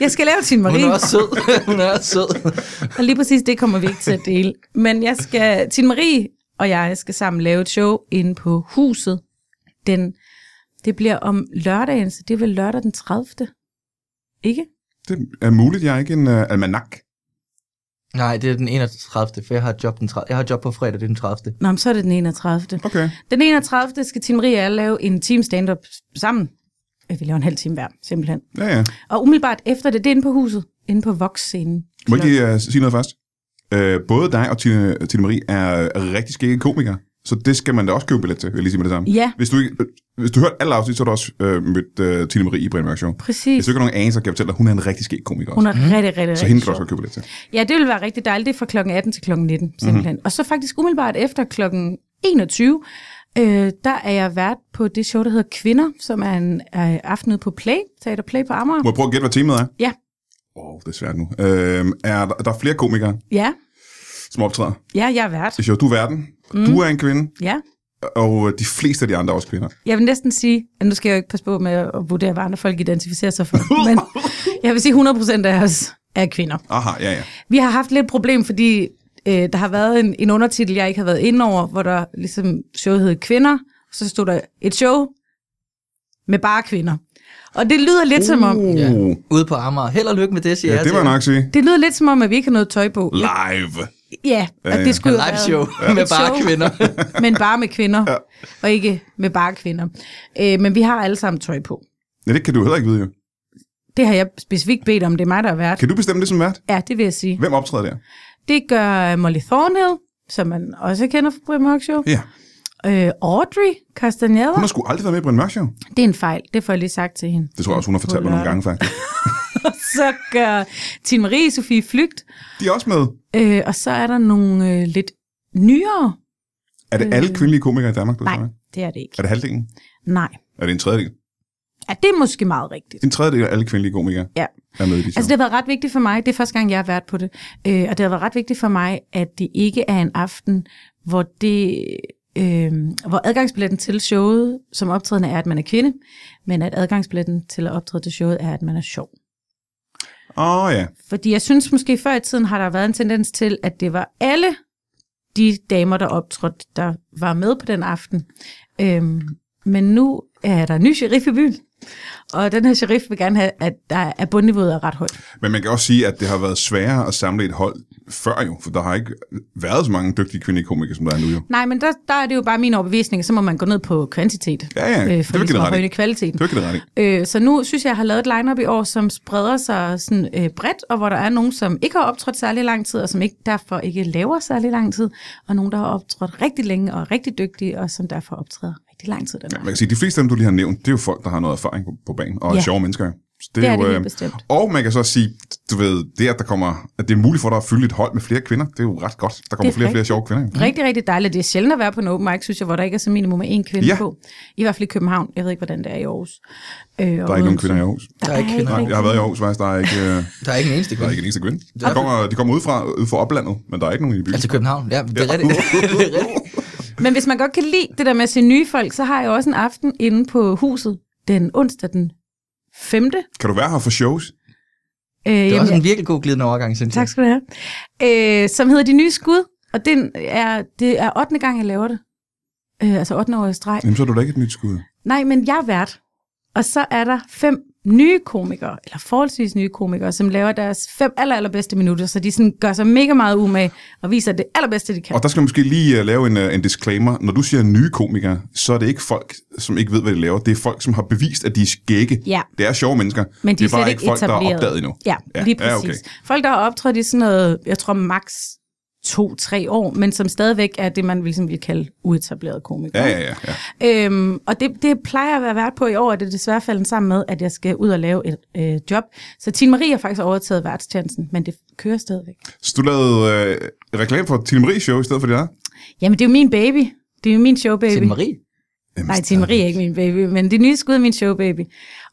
jeg skal lave Tine
Hun
Marie.
er også sød. Hun er også sød.
Og lige præcis det kommer vi ikke til at dele. Men jeg skal, Tine Marie og jeg skal sammen lave et show inde på huset. Den, det bliver om lørdagen, så det er vel lørdag den 30. Ikke?
Det er muligt, jeg er ikke en øh, almanak.
Nej, det er den 31. For jeg har et job, den 30. jeg har et job på fredag, det er den 30.
Nå, men så er det den 31.
Okay.
Den 31. skal Tine Marie og jeg lave en team stand-up sammen. Øh, Vi laver en halv time hver, simpelthen.
Ja, ja.
Og umiddelbart efter det, det er inde på huset, inde på Vox-scenen.
Må jeg lige uh, sige noget først? Uh, både dig og Tine, Tine Marie er øh, rigtig skægge komikere, så det skal man da også købe billet til, vil jeg lige sige med det samme.
Ja,
Hvis du, ikke, øh, hvis du hørte alle afsnit, så har du også øh, mødt øh, Tine Marie i Brian Mørk Show. Hvis
præcis.
du ikke har nogen anelse, så kan jeg fortælle dig, at hun er en rigtig skæg komiker
Hun
også.
er rigtig, rigtig,
Så hende
rigtig
kan du også
sjov.
godt købe billet til.
Ja, det ville være rigtig dejligt. Det er fra kl. 18 til kl. 19, simpelthen. Mm-hmm. Og så faktisk umiddelbart efter kl. 21, øh, der er jeg vært på det show, der hedder Kvinder, som er en øh, aften ude på Play, Teater Play på Amager.
Må jeg prøve at gætte, hvad temaet er?
Ja.
Åh, oh, det er svært nu. Øh, er der, der er flere komikere,
Ja,
som optræder.
ja, jeg er vært.
Det show, du er verden, mm. du er en kvinde,
Ja.
og øh, de fleste af de andre er også kvinder.
Jeg vil næsten sige, at nu skal jeg jo ikke passe på med at vurdere, hvad andre folk identificerer sig for, men jeg vil sige, at 100% af os er kvinder.
Aha, ja, ja.
Vi har haft lidt problem, fordi øh, der har været en, en undertitel, jeg ikke har været inde over, hvor der ligesom showet hed Kvinder, og så stod der et show med bare kvinder. Og det lyder lidt uh. som om,
Ja.
Uh,
Ude på Amager. Held og lykke med det, siger
ja,
jeg
det
til
var
jer.
nok sige.
det lyder lidt som om, at vi ikke har noget tøj på.
Live.
Ja, og
ja.
det skulle jo
Live
være-
show med
Et
bare
show.
kvinder.
Men bare med kvinder, ja. og ikke med bare kvinder. Øh, men vi har alle sammen tøj på.
Ja, det kan du heller ikke vide, jo.
Det har jeg specifikt bedt om, det er mig, der er vært.
Kan du bestemme det som vært?
Ja, det vil jeg sige.
Hvem optræder der?
Det gør Molly Thornhill, som man også kender fra Brian Mørk Show.
Ja.
Øh, Audrey Castaneda.
Hun har sgu aldrig været med i Brian Mørk Show.
Det er en fejl, det får jeg lige sagt til hende.
Det tror jeg også, hun har fortalt mig nogle gange, faktisk.
Så gør Tine Marie Sofie Flygt,
De er også med.
øh, og så er der nogle øh, lidt nyere.
Er det alle kvindelige komikere i Danmark? Du
Øh. Nej,
snakker med?
det er det ikke.
Er det halvdelen?
Nej.
Er det en tredjedel?
Ja, det er måske meget rigtigt.
En tredjedel af alle kvindelige komikere
Ja.
er med i de show.
Altså, det har været ret vigtigt for mig, det er første gang, jeg har været på det, øh, og det har været ret vigtigt for mig, at det ikke er en aften, hvor det... Øh, hvor adgangsbilletten til showet som optrædende er, at man er kvinde, men at adgangsbilletten til at optræde til showet er, at man er sjov.
Åh oh, ja.
Fordi jeg synes måske før i tiden har der været en tendens til, at det var alle de damer, der optrådte, der var med på den aften. Øhm, men nu er der en ny sheriff i byen, Og den her sheriff vil gerne have, at der er bundniveauet er ret højt.
Men man kan også sige, at det har været sværere at samle et hold før jo, for der har ikke været så mange dygtige kvindelige komikere, som der er nu jo.
Nej, men der, der er det jo bare min overbevisning, at så må man gå ned på kvantitet.
Ja, ja, det er
for
virkelig
ligesom at
ret i.
højne kvaliteten.
Det var ikke det rette.
Øh, så nu synes jeg, jeg har lavet et lineup i år, som spreder sig sådan, øh, bredt, og hvor der er nogen, som ikke har optrådt særlig lang tid, og som ikke, derfor ikke laver særlig lang tid, og nogen, der har optrådt rigtig længe og er rigtig dygtige, og som derfor optræder rigtig lang tid. Den
Man kan sige, at de fleste af dem, du lige har nævnt, det er jo folk, der har noget erfaring på, på banen, og er
Ja.
sjove mennesker. jo. Så
Det er
jo,
det helt
øh,
bestemt.
Og man kan så sige, du ved, det at, der kommer, at det er muligt for dig at fylde et hold med flere kvinder, det er jo ret godt. Der kommer
Det er
flere og flere
rigtigt.
sjove kvinder. jo.
Rigtig, rigtig dejligt. Det er sjældent at være på en open mic, synes jeg, hvor der ikke er så minimum af én kvinde
Ja.
ja. på. I hvert fald i København. Jeg ved ikke, hvordan det er i Aarhus. Øh, der er
Der er ikke nogen kvinder i Aarhus.
Der,
Der er
er
ikke
ikke
kvinder.
Nej,
rigtig.
jeg har været i Aarhus faktisk, der er ikke, øh,
Der er ikke en eneste
der er
kvinde.
ikke en eneste kvinde. De kommer, de kommer ud fra, ud fra oplandet, men der er ikke nogen i byen.
Altså København, ja, det er rigtigt. Det er rigtigt.
Men hvis man godt kan lide det der med at se nye folk, så har jeg også en aften inde på huset den onsdag den 5. Øh,
Kan du være her for shows?
Det er
jamen,
også en virkelig god glidende overgang, synes jeg.
Tak skal du have. Øh, som hedder De Nye Skud, og den er, det er 8. gang, jeg laver det. Øh, altså 8. år i streg.
Jamen, så er du da ikke et nyt skud.
Nej, men jeg er vært. Og så er der fem nye komikere, eller forholdsvis nye komikere, som laver deres fem aller, allerbedste minutter, så de sådan gør sig mega meget umage og viser det allerbedste, de kan.
Og der skal man måske lige uh, lave en, uh, en disclaimer. Når du siger nye komikere, så er det ikke folk, som ikke ved, hvad de laver. Det er folk, som har bevist, at de er skægge.
Ja.
Det er sjove mennesker.
Men de
det er bare
slet
ikke folk, der er
etableret.
opdaget endnu.
Ja,
Ja,
ja lige
ja,
præcis. Ja, okay. Folk, der har optrådt i sådan noget, jeg tror max to-tre år, men som stadigvæk er det, man ligesom vil kalde uetableret komikere.
Ja, ja, ja. ja.
Øhm, og det, det plejer jeg at være vært på i år, og det er desværre faldet sammen med, at jeg skal ud og lave et øh, job. Så Tine Marie har faktisk overtaget værtstjenesten, men det kører stadigvæk.
Så du lavede uh, reklame for Tine Marie show i stedet for det der?
Jamen, det er jo min baby. Det er jo min showbaby.
Til Marie.
Jamen,
Nej, Tine Marie er ikke min baby, men det nye skud er min showbaby.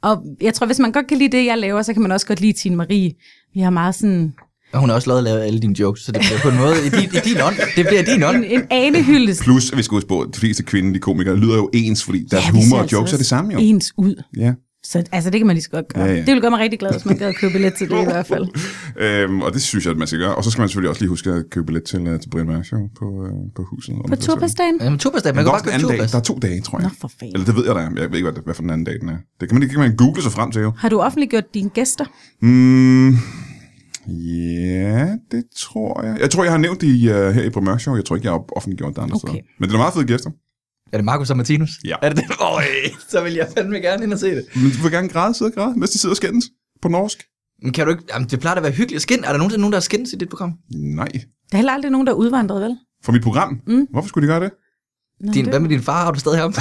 Og jeg tror, hvis man godt kan lide det, jeg laver, så kan man også godt lide Tine Marie. Vi har meget sådan
Og hun har også lavet, lavet alle dine jokes, så det bliver på en måde i din, i din ånd. Det bliver din ånd.
en, en anehyldest.
Plus, at vi skal huske på, at de fleste kvindelige komikere lyder jo ens, fordi deres
Ja, vi ser
humor og
altså
jokes er
også
det samme jo.
Ens ud.
Ja.
Så altså, det kan man lige så godt gøre.
Ja,
Ja,
ja.
ja. Det ville gøre mig rigtig glad, hvis man gad at købe billet til det i hvert fald.
Øhm, og det synes jeg, at man skal gøre. Og så skal man selvfølgelig også lige huske at købe billet til, uh, til Brian Mørk Show på, uh, på huset.
På turbasdagen?
Jamen, turbasdag. Man
Man
kan
kan
bare
også den anden
købe
dag.
turbas.
Der er to dage, tror jeg.
Nå, for fanden.
Eller det ved jeg, der er. Jeg ved ikke, hvad, hvad for den anden dag den er. Det kan man, det kan man google sig frem til jo.
Har du offentliggjort dine gæster?
Mm, ja, det tror jeg. Jeg tror, jeg har nævnt det i, uh, her i Primør Show. Jeg tror ikke, jeg har offentliggjort det andre
Okay.
steder. Men det er meget fede gæster.
Er det Markus og Martinus?
Ja.
Er det det? Øj, så vil jeg fandme gerne ind og se det.
Men du vil gerne græde, sidde og græde, mens de sidder og skændes på norsk.
Men kan du ikke... Jamen, det plejer da at være hyggeligt at skinne. Er der nogensinde nogen, der har skændes i dit program?
Nej.
Der er heller aldrig nogen, der er udvandret, vel?
For mit program? Mm. Hvorfor skulle de gøre det?
Nå,
Din,
det-
hvad med din far? Har du stadig ham?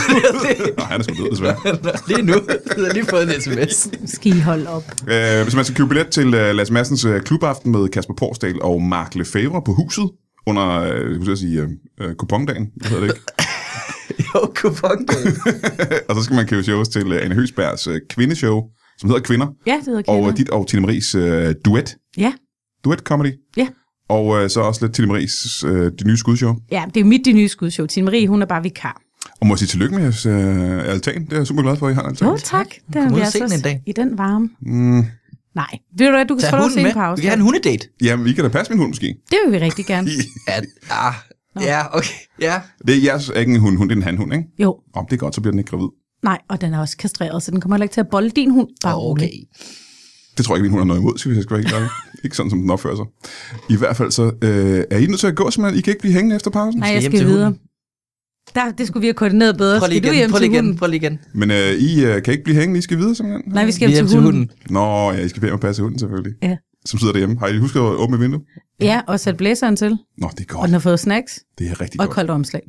Nej, han er sgu død, desværre.
lige nu. Jeg har lige fået en sms.
Skal I holde op?
Øh, hvis man skal købe billet til uh, Lars Madsens uh, klubaften med Kasper Porsdal og Mark Lefebvre på huset under, uh, jeg skulle til at sige, uh, uh, kupondagen, det hedder det ikke.
Jo, kupon.
og så skal man købe shows til uh, Anne Høsbergs uh, kvindeshow, som hedder Kvinder,
Ja, det hedder
og
Kender.
uh, dit og Tine Maries uh, duet,
Ja.
duet comedy.
Ja.
Og øh, så også lidt Tine Maries øh, det nye skudshow.
ja, det er jo mit de nye skudshow. Tine Marie, hun er bare vikar.
Og må jeg sige tillykke med jeres øh, altan. Det er jeg super glad for, at I har en altan.
Jo, tak. Den
Kom ud
vi
og
altså
se den en
også
dag.
I den varme.
Mm,
Nej. Ved du hvad, du kan
Tag
få lov at
hunden
se
med.
en pause.
Vi kan have en hundedate.
jamen, I kan da passe min hund måske.
Det vil vi rigtig gerne.
Ja, ah, ja, okay. Ja,
Det er jeres er ikke en hund, hun er en handhund, ikke?
Jo,
Om det er godt, så bliver den ikke gravid.
nej, og den er også kastreret, så den kommer heller ikke til at bolde din hund. Bare rolig.
okay.
Det tror jeg ikke, min hund har noget imod, hvis jeg skal være helt ærlig. ikke sådan, som den opfører sig. I hvert fald så øh, er I nødt til at gå, simpelthen. I kan ikke blive hængende efter pausen.
Nej,
skal
jeg
hjem
skal
til
videre.
hunden.
Der, det skulle vi have koordineret bedre.
Prøv lige
Skal du
igen,
hjem
prøv
til
lige igen,
hunden?
prøv lige igen.
Men øh, I øh, kan ikke blive hængende, I skal videre simpelthen.
Nej, vi skal
Vi er
hjem til hunden.
Nå, ja, I skal bede om at passe hunden selvfølgelig.
Ja.
Som sidder derhjemme. Har I husket at åbne vinduet?
Ja, og sæt blæseren til.
Nå, det er
Og
godt.
den har fået snacks
Det er rigtig
og et
godt.
koldt omslag.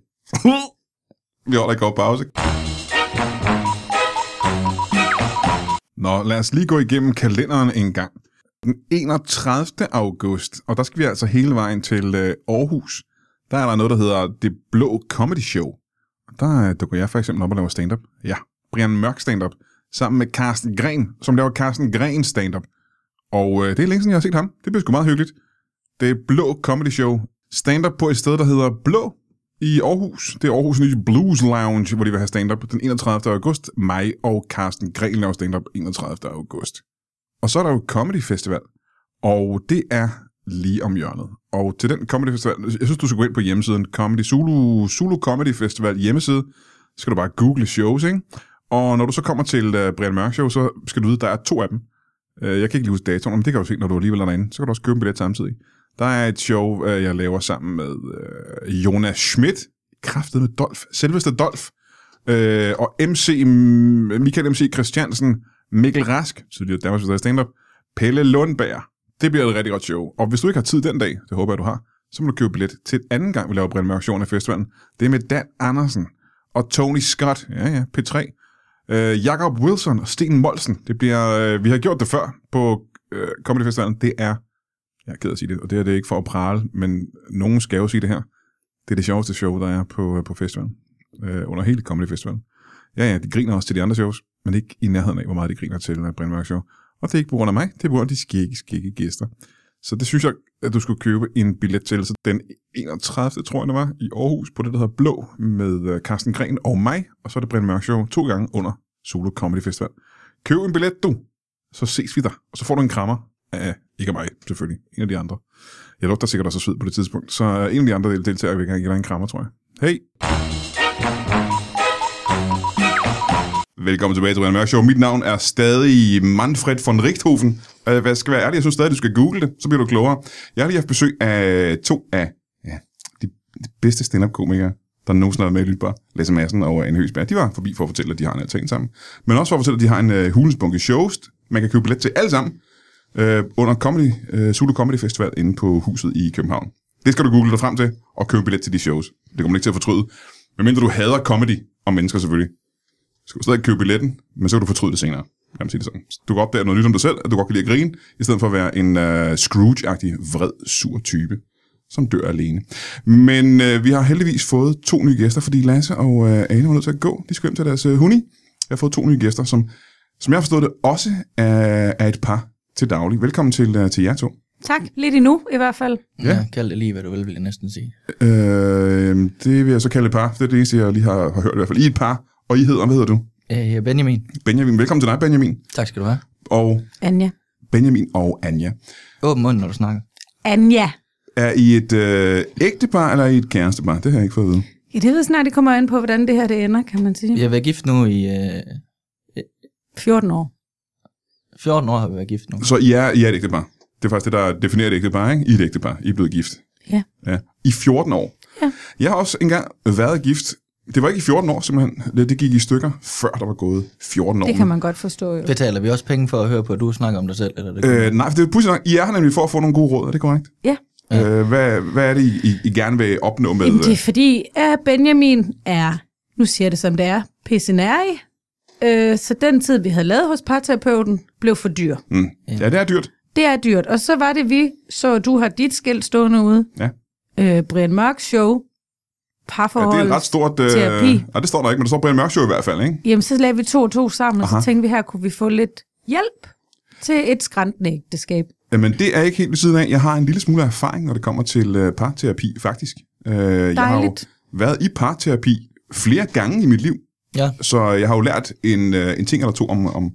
Vi holder en kort pause. Nå, lad os lige gå igennem kalenderen en gang. Den 31. august, og der skal vi altså hele vejen til øh, Aarhus. Der er der noget, der hedder Det Blå Comedy Show. Der øh, dukker jeg for eksempel op og laver stand-up. Ja, Brian Mørk stand-up. Sammen med Carsten Gren, som laver Carsten Gren stand-up. Og øh, det er længe siden, jeg har set ham. Det bliver sgu meget hyggeligt. Det Blå Comedy Show. Stand-up på et sted, der hedder Blå i Aarhus. Det er Aarhus nye Blues Lounge, hvor de vil have stand-up den 31. august. Mig og Carsten Gren laver stand-up 31. august. Og så er der jo Comedy Festival, og det er lige om hjørnet. Og til den Comedy Festival, jeg synes, du skal gå ind på hjemmesiden Comedy Zulu, Zulu Comedy Festival hjemmeside, så skal du bare google shows, ikke? Og når du så kommer til uh, Brian Mørk Show, så skal du vide, at der er to af dem. Uh, jeg kan ikke lige huske datoen, men det kan du se, når du alligevel er derinde. Så kan du også købe en billet samtidig. Der er et show, uh, jeg laver sammen med uh, Jonas Schmidt, kraftet med Dolf, selveste Dolf, uh, og MC, M- Michael MC Christiansen, Mikkel Rask, tidligere Danmarks Videre Stand-Up, Pelle Lundberg. Det bliver et rigtig godt show. Og hvis du ikke har tid den dag, det håber jeg, du har, så må du købe billet til anden gang, vi laver Brian Mørk Show under festivalen. Det er med Dan Andersen og Tony Scott, ja ja, P3, øh, Jakob Wilson og Sten Molsen. Det bliver, øh, vi har gjort det før på øh, Comedy Festivalen. Det er, jeg er ked af at sige det, og det er det ikke for at prale, men nogen skal jo sige det her. Det er det sjoveste show, der er på, øh, på festivalen. Øh, under hele Comedy Festivalen. Ja, ja, de griner også til de andre shows, men ikke i nærheden af, hvor meget de griner til uh, Brian Mørk Show. Og det er ikke på grund af mig, det er på grund af de skægge, skægge gæster. Så det synes jeg, at du skulle købe en billet til. Så den 31. tror jeg det var, i Aarhus, på det, der hedder Blå, med øh, Carsten Gren og mig. Og så er det Brian Mørk Show to gange under Solo Comedy Festival. Køb en billet, du. Så ses vi der. Og så får du en krammer af, ikke af mig, selvfølgelig. En af de andre. Jeg lugter sikkert også af sved på det tidspunkt. Så øh, en af de andre deltagere vil gerne give dig en krammer, tror jeg. Hej! Velkommen tilbage til Brian Mørk Show. Mit navn er stadig Manfred von Richthofen. Øh, Hvad skal være ærlig, jeg synes stadig, du skal google det, så bliver du klogere. Jeg har lige haft besøg af to af ja, de, de bedste stand-up-komikere, der nogensinde har været med i Lytbar. Lasse Madsen og Anne Høgsberg. De var forbi for at fortælle, at de har en altan sammen. Men også for at fortælle, at de har en uh, hulens bunke shows. Man kan købe billet til alle sammen øh, under Comedy, øh, Zulu Comedy Festival inde på huset i København. Det skal du google dig frem til, og købe billet til de shows. Det kommer du ikke til at fortryde. Medmindre du hader comedy og mennesker selvfølgelig skal du stadig købe billetten, men så kan du fortryde det senere. Kan man sige det sådan. Du kan opdage noget nyt om dig selv, at du godt kan lide at grine, i stedet for at være en uh, Scrooge-agtig, vred, sur type, som dør alene. Men uh, vi har heldigvis fået to nye gæster, fordi Lasse og uh, Ane var nødt til at gå. De skal hjem til deres uh, hunni. Jeg har fået to nye gæster, som, som jeg har forstået det, også er, er et par til daglig. Velkommen til, uh, til jer to.
Tak, lidt endnu i hvert fald.
Ja.
Ja. ja. Kald det lige, hvad du vil, vil jeg næsten sige.
Øh, det vil jeg så kalde et par, for det er det eneste, jeg lige har, har hørt i hvert fald. I er et par, og I hedder, hvad hedder du?
Øh, Benjamin,
Benjamin. Velkommen til dig, Benjamin.
tak skal du have.
Og
Anja.
Benjamin og Anja.
Åben mund, når du snakker.
Anja.
Er I et øh, ægtepar, eller er I et kærestepar? Det har jeg ikke fået at vide.
Ja, det ved jeg snart, det kommer an på, hvordan det her det ender, kan man sige.
Vi har været gift nu i... Øh,
14 år.
14 år har vi været gift nu.
Så I er, I er et ægtepar. Det er faktisk det, der definerer et ægtepar, ikke? I er et ægtepar. I er blevet gift.
Ja.
ja. I 14 år.
Ja.
Jeg har også engang været gift. Det var ikke i 14 år, simpelthen. Det, det gik i stykker, før der var gået 14 år.
Det kan man godt forstå jo.
Betaler vi også penge for at høre på, at du snakker om dig selv? Eller det
Øh, nej, for det er pudsigt nok. I er her nemlig for at få nogle gode råd, er det korrekt?
Ja.
Øh, hvad, hvad er det, I, I- I gerne vil opnå med...
Jamen, det er fordi, at Benjamin er, nu siger jeg det som det er, pissenærig. Øh, så den tid, vi havde lavet hos parterapeuten, blev for dyr.
Mm. Ja, det er dyrt.
Det er dyrt. Og så var det, vi så, at du har dit skilt stående ude.
Ja.
Øh, Brian Mørk show.
Ja,
Parforhold.
det er et ret stort... Øh,
Terapi.
nej, det står der ikke, men der står Brian Mørk Show i hvert fald, ikke?
Jamen, så lagde vi to og to sammen, og
Aha.
så tænkte vi, her kunne vi få lidt hjælp til et skrantende ægteskab.
Jamen, det er ikke helt ved siden af. Jeg har en lille smule erfaring, når det kommer til øh, parterapi, faktisk. Øh, jeg har jo
Dejligt.
været i parterapi flere gange i mit liv,
Ja.
så jeg har jo lært en, øh, en ting eller to om, om,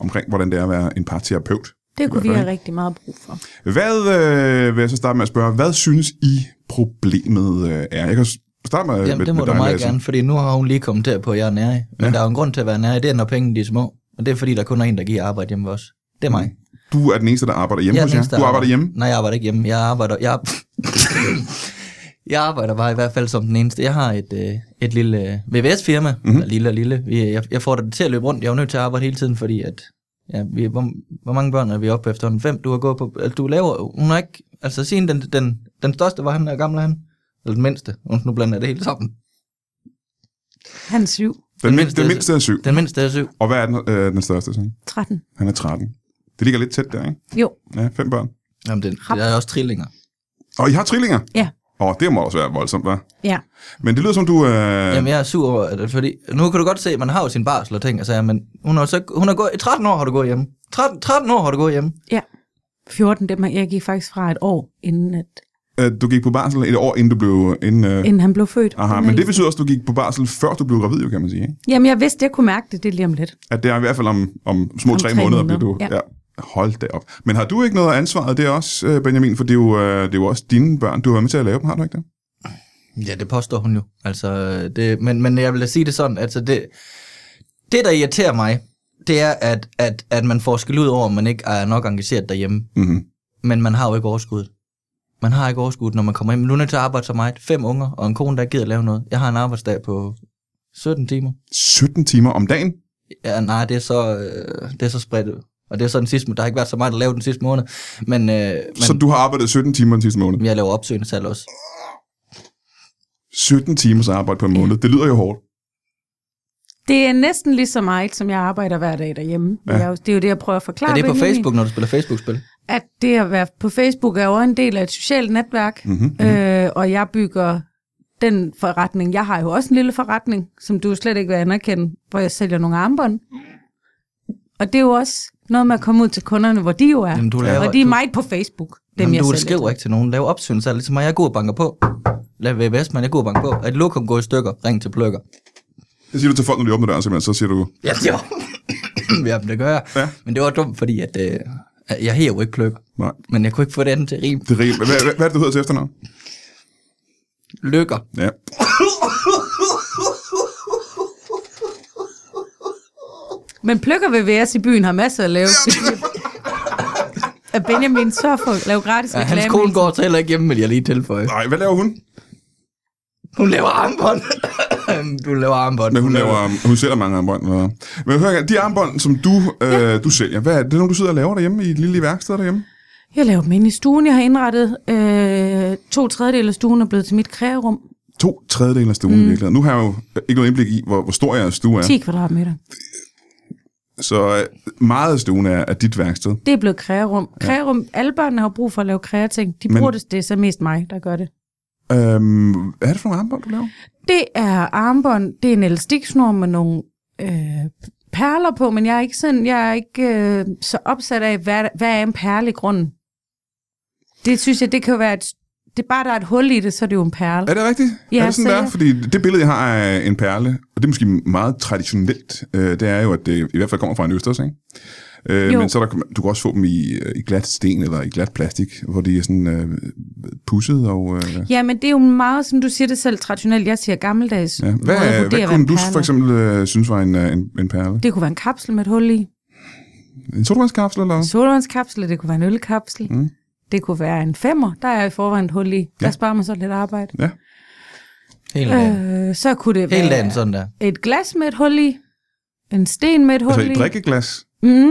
omkring, hvordan det er at være en parterapeut.
Det kunne vi
fald,
have rigtig meget brug for.
Hvad øh, vil jeg så starte med at spørge? Hvad synes I, problemet øh, er? Jeg kan s- starte med,
Jamen,
øh, med,
det må
med
du
dig,
meget
Lasse.
gerne, fordi nu har hun lige kommenteret på, at jeg er nærig. Men ja. der er jo en grund til at være nærig, det er, når pengene de er små. Og det er, fordi der kun er en, der giver arbejde hjemme ved os. Det er mig. Mm.
Du er den eneste, der arbejder hjemme
jeg er
hos
den
jer.
eneste, der
Du arbejder hjemme?
Nej, jeg arbejder ikke hjemme. Jeg arbejder... Jeg, jeg arbejder bare i hvert fald som den eneste. Jeg har et, øh, et lille øh, VVS-firma,
Mhm.
mm-hmm. eller lille og lille. Vi, jeg, jeg får det til at løbe rundt. Jeg er jo nødt til at arbejde hele tiden, fordi at... Ja, vi, hvor, hvor, mange børn er vi oppe på efterhånden? Fem, du har gået på... Altså, du laver... Hun har ikke... Altså, sin den, den, den største var han, der gamle han. Eller den mindste. Nu blander jeg det hele sammen.
Han syv,
Den,
Den
mindste,
mindste
den
er-
mindste er syv.
Den mindste er syv.
Og hvad er den, øh, den største? Så?
13.
Han er 13. Det ligger lidt tæt der, ikke?
Jo,
Ja, fem børn.
Jamen, den,
Hap.
der er også trillinger.
Og I har trillinger?
ja,
Åh, det må også være voldsomt, hva'?
ja.
Men det lyder som, du... Øh,
Jamen, jeg er sur over det, fordi nu kan du godt se, at man har jo sin barsel og ting, og så men hun har, så, hun har gået, i 13 år har du gået hjemme. 13, 13 år har du gået hjemme.
Ja. 14, det, man, jeg gik faktisk fra et år, inden, at,
øh, du gik på barsel et år, inden du blev... Inden, øh,
inden han blev født.
aha, men det betyder også, at du gik på barsel, før du blev gravid, jo, kan man sige. Ikke?
Jamen, jeg vidste, jeg kunne mærke det, det er lige om lidt.
At det er i hvert fald om, om små om tre, måneder, bliver du...
ja.
Hold da op. Men har du ikke noget af ansvaret der også, øh, Benjamin? For det er, jo, øh, det er jo også dine børn. Du har været med til at lave dem, har du ikke det?
Ja, det påstår hun jo. Altså, det, men, men jeg vil da sige det sådan, altså det, Det, der irriterer mig, det er, at, at, at man får skæld ud over, at man ikke er nok engageret derhjemme.
Mm-hmm.
Men man har jo ikke overskud. Man har ikke overskud, når man kommer hjem. Nu er jeg nødt til at arbejde så meget. Fem unger og en kone, der ikke gider lave noget. Jeg har en arbejdsdag på 17 timer.
17 timer om dagen?
Ja, nej, det er så, øh, det er så spredt ud. Og det er så den sidste, der har ikke været så meget at lave den sidste måned. Men, øh, men
Men... Så du har arbejdet 17 timer den sidste måned?
jeg laver opsøgende salg også.
17 timers arbejde på en måned, det lyder jo hårdt.
Det er næsten lige så meget, som jeg arbejder hver dag derhjemme. Ja. Jeg, er jo- det er jo det, jeg prøver at forklare.
Er det på
Benjamin,
Facebook, når du spiller Facebook-spil?
At det at være på Facebook er jo en del af et socialt netværk, mm-hmm. øh, og jeg bygger den forretning. Jeg har jo også en lille forretning, som du slet ikke vil anerkende, hvor jeg sælger nogle armbånd. Og det er jo også noget med at komme ud til kunderne, hvor de jo er.
Jamen, du
og
laver-
de er
du-
meget på Facebook, dem
Dem, Jamen,
jeg
du
sælger.
skriver ikke til nogen. Lav opsyn, så er det ligesom mig. Jeg er god og banker på. Lav VVS, men jeg er god og banker på. At lokum går i stykker. Ring til plukker.
Det siger du til folk, når de åbner døren, simpelthen, så siger du,
Ja, jo. Jamen, det gør jeg.
Ja.
Ja. Men det var dumt, fordi at, øh, jeg hæver jo ikke plukker.
nej,
Men jeg kunne ikke få det andet til at rime.
det er rigtigt. Hvad, hvad, hvad er det, du hedder til efternavn?
Lykker.
Ja.
Men plukker VVS i byen har masser at lave. At Benjamin så for at lave gratis
Ja,
reklame.
hans kone går så heller ikke hjemme, vil jeg lige tilføje.
Nej, hvad laver hun?
Hun laver armbånd. du laver armbånd.
Men hun, laver, hun sælger mange armbånd. Eller? Men hør, engang, de armbånd, som du, øh, du sælger, hvad er det, når du sidder og laver derhjemme i et lille værksted derhjemme?
Jeg laver dem inde i stuen, jeg har indrettet. Øh, to tredjedel af stuen er blevet til mit krægerum.
To tredjedel af stuen mm. i virkeligheden. Nu har jeg jo ikke noget indblik i, hvor, hvor stor jeres stue er.
10 kvadratmeter.
Så øh, meget af stuen er, er dit værksted.
Det er blevet krægerum. Krægerum, alle børnene har jo brug for at lave krægerting. De
Men-
bruger det, det er så mest mig, der gør det.
Øhm, hvad er det for nogle armbånd, du laver?
Det er armbånd, det er en elastiksnor med nogle øh, perler på, men jeg er ikke, sådan, jeg er ikke øh, så opsat af, hvad, hvad er en perle i grunden? Det synes jeg, det kan jo være, et, det er bare, der er et hul i det, så er det jo en perle.
Er det rigtigt?
Ja,
er det sådan
så
der?
jeg-
Fordi det billede, jeg har af en perle, og det er måske meget traditionelt, øh, det er jo, at det i hvert fald kommer fra en østers, ikke? Øh,
Jo.
men så er der, du kan også få dem i, øh, i glat sten eller i glat plastik, hvor de er sådan øh, pusset og... Øh,
Ja, men det er jo meget, som du siger det selv, traditionelt. Jeg siger gammeldags.
ja. Hvad,
måde at
hvad,
vurdere,
hvad
en
kunne du
perle
for
er.
eksempel øh, synes var en, øh, en, en perle?
Det kunne være en kapsel med et hul i.
En sodavandskapsel eller
En
hvad?
solvandskapsel, og det kunne være en ølkapsel.
Mm.
Det kunne være en femmer, der er i forvejen et hul i. Der
Ja.
sparer man så lidt arbejde.
Ja.
Hele dagen.
Øh, så kunne det
Hele dagen
være
sådan der.
et glas med et hul i. En sten med et hul
Altså
i.
et drikkeglas. øh,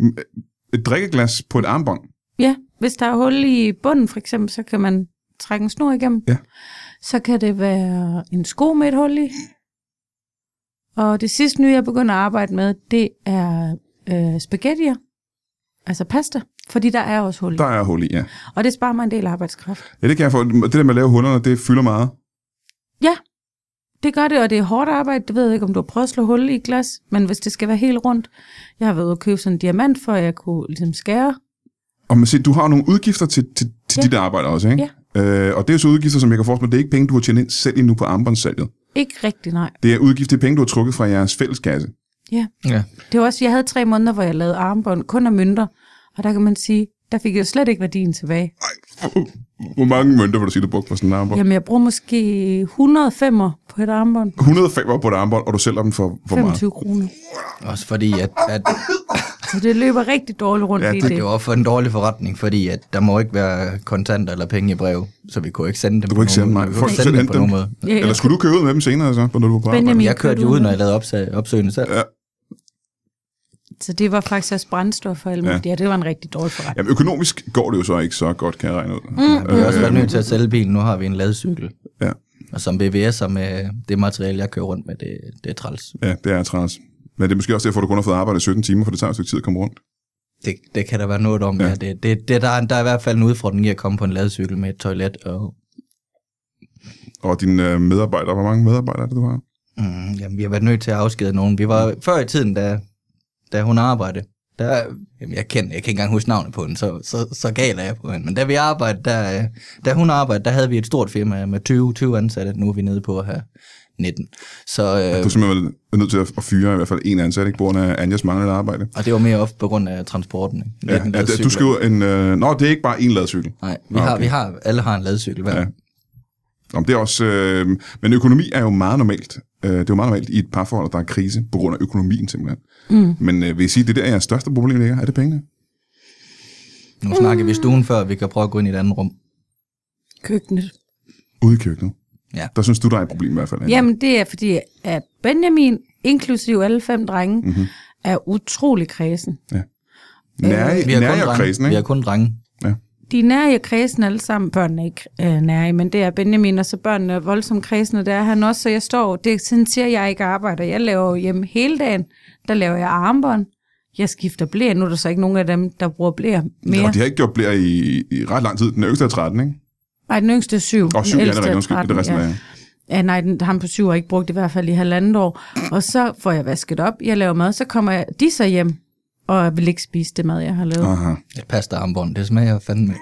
Mm,
Et drikkeglas på et armbånd.
ja, hvis der er hul i bunden for eksempel, så kan man trække en snor igennem.
Ja.
Så kan det være en sko med et hul i. Og det sidste nye, jeg begynder at arbejde med, det er øh, spaghettier. Altså pasta. Fordi der er også hul i.
Der er hul i, ja.
Og det sparer mig en del arbejdskraft.
Ja, det kan jeg få. Det der med at lave hullerne, det fylder meget.
Det gør det, og det er hårdt arbejde. Det ved jeg ikke, om du har prøvet at slå hul i et glas, men hvis det skal være helt rundt. Jeg har været ude og købe sådan en diamant, for at jeg kunne ligesom skære.
Og man siger, du har nogle udgifter til, til, til ja.
Ja.
dit arbejde også, ikke? Ja. Øh, og det er så udgifter, som jeg kan forestille mig, det er ikke penge, du har tjent ind selv endnu på armbåndssalget.
Ikke rigtig, nej.
Det er udgifter, det er penge, du har trukket fra jeres fælleskasse.
Ja.
Det var også, jeg havde tre måneder, hvor jeg lavede armbånd kun af mønter, og der kan man sige, der fik jeg jo slet ikke værdien tilbage.
Hvor mange mønter vil du sige, du brugte på sådan en armbånd?
Jamen, jeg bruger måske 105 på et armbånd.
105 var på et armbånd, og du sælger dem for hvor meget?
25 kroner.
Også fordi, at, at
Så det løber rigtig dårligt rundt
Ja,
ja, i
det
det.
det var for en dårlig forretning, fordi at der må ikke være kontanter eller penge i brev, så vi kunne ikke sende
Du
dem på
kunne ikke sende
nogen-
mig.
vi kunne
Folk
ikke
selv
sende dem
hente
på
dem.
nogen måde.
Ja,
Eller
jeg,
skulle du købe ud med dem senere, så, når du var på arbejde?
Benjamin
Jeg kørte jo ud, når jeg lavede opsag, opsøgende selv.
Ja.
Så det var faktisk også brændstof og alt muligt. Ja. det var en rigtig dårlig forretning.
Jamen, økonomisk går det jo så ikke så godt, kan jeg regne ud. Mm.
Vi har også været nødt til at sælge bilen. Nu har vi en ladecykel.
Ja.
Og som BVS'er med det materiale, jeg kører rundt med, det, det er træls.
ja, det er træls. Men det er måske også derfor, du kun har fået arbejde i 17 timer, for det tager et stykke tid at komme rundt.
Det, det kan der være noget om. Ja. Ja, det, det, det, der, er, der er i hvert fald en udfordring i at komme på en ladecykel med et toilet. Og,
Og dine øh, medarbejdere, hvor mange medarbejdere er det, du har?
mm, jamen, vi har været nødt til at afskede nogen. Vi var
Mm.
før i tiden, da, da hun arbejdede, der, jamen, jeg, kendte, jeg kan ikke engang huske navnet på hende, så, så, så gal er jeg på hende. Men da vi arbejdede, der, øh, da hun arbejdede, der havde vi et stort firma med 20, 20 ansatte. Nu er vi nede på at have 19. Så, øh,
Du er simpelthen nødt til at at fyre i hvert fald en ansat, ikke? På grund af Anjas manglende arbejde.
Og det var mere ofte på grund af transporten. Ikke? Vi
Ja,
havde en
at, at
ladcykel.
du skriver en... Øh, nå, det er ikke bare en ladcykel.
Nej, vi har,
Okay.
vi har, alle har en ladcykel hver.
Ja.
Ja.
Om det er også, øh, men økonomi er jo meget normalt. Øh, det er jo meget normalt i et parforhold, at der er krise på grund af økonomien simpelthen. Mm. Men øh, vil I sige, det der er jeres største problem ligger? Er det pengene?
Nu snakker vi i stuen før, vi kan prøve at gå ind i et andet rum.
Køkkenet.
Ude i køkkenet?
Ja.
Der synes du, der er et problem i hvert fald. Anne.
Jamen, det er fordi, at Benjamin, inklusiv alle fem drenge,
Mhm.
mm-hmm. er utrolig kredsen.
Nær,
Vi har kun,
nær
drenge.
kredsen,
Vi
ikke?
har kun drenge.
De er nære i kredsen alle sammen. Børnene er ikke øh, nære i, men det er Benjamin, og så børnene er voldsomt kredsende. Det er han også, så jeg står, det er sådan siger, jeg ikke arbejder. Jeg laver jo hjemme hele dagen. Der laver jeg armbånd. Jeg skifter blæer. Nu er der så ikke nogen af dem, der bruger blæer mere.
Og de har ikke gjort blære i, i ret lang tid. Den yngste er 13, ikke?
Nej, den yngste er syv.
Og syv
den
ja, det er
ældste
rigtigt. Undskyld, det er resten
ja.
af
Ja, nej, den, ham på syv har ikke brugt det i hvert fald i halvandet år. Og så får jeg vasket op, jeg laver mad, så kommer jeg, de så hjem, og jeg vil ikke spise det mad, jeg har lavet.
Aha.
Det pasta armbånd, det smager fandme. Jamen,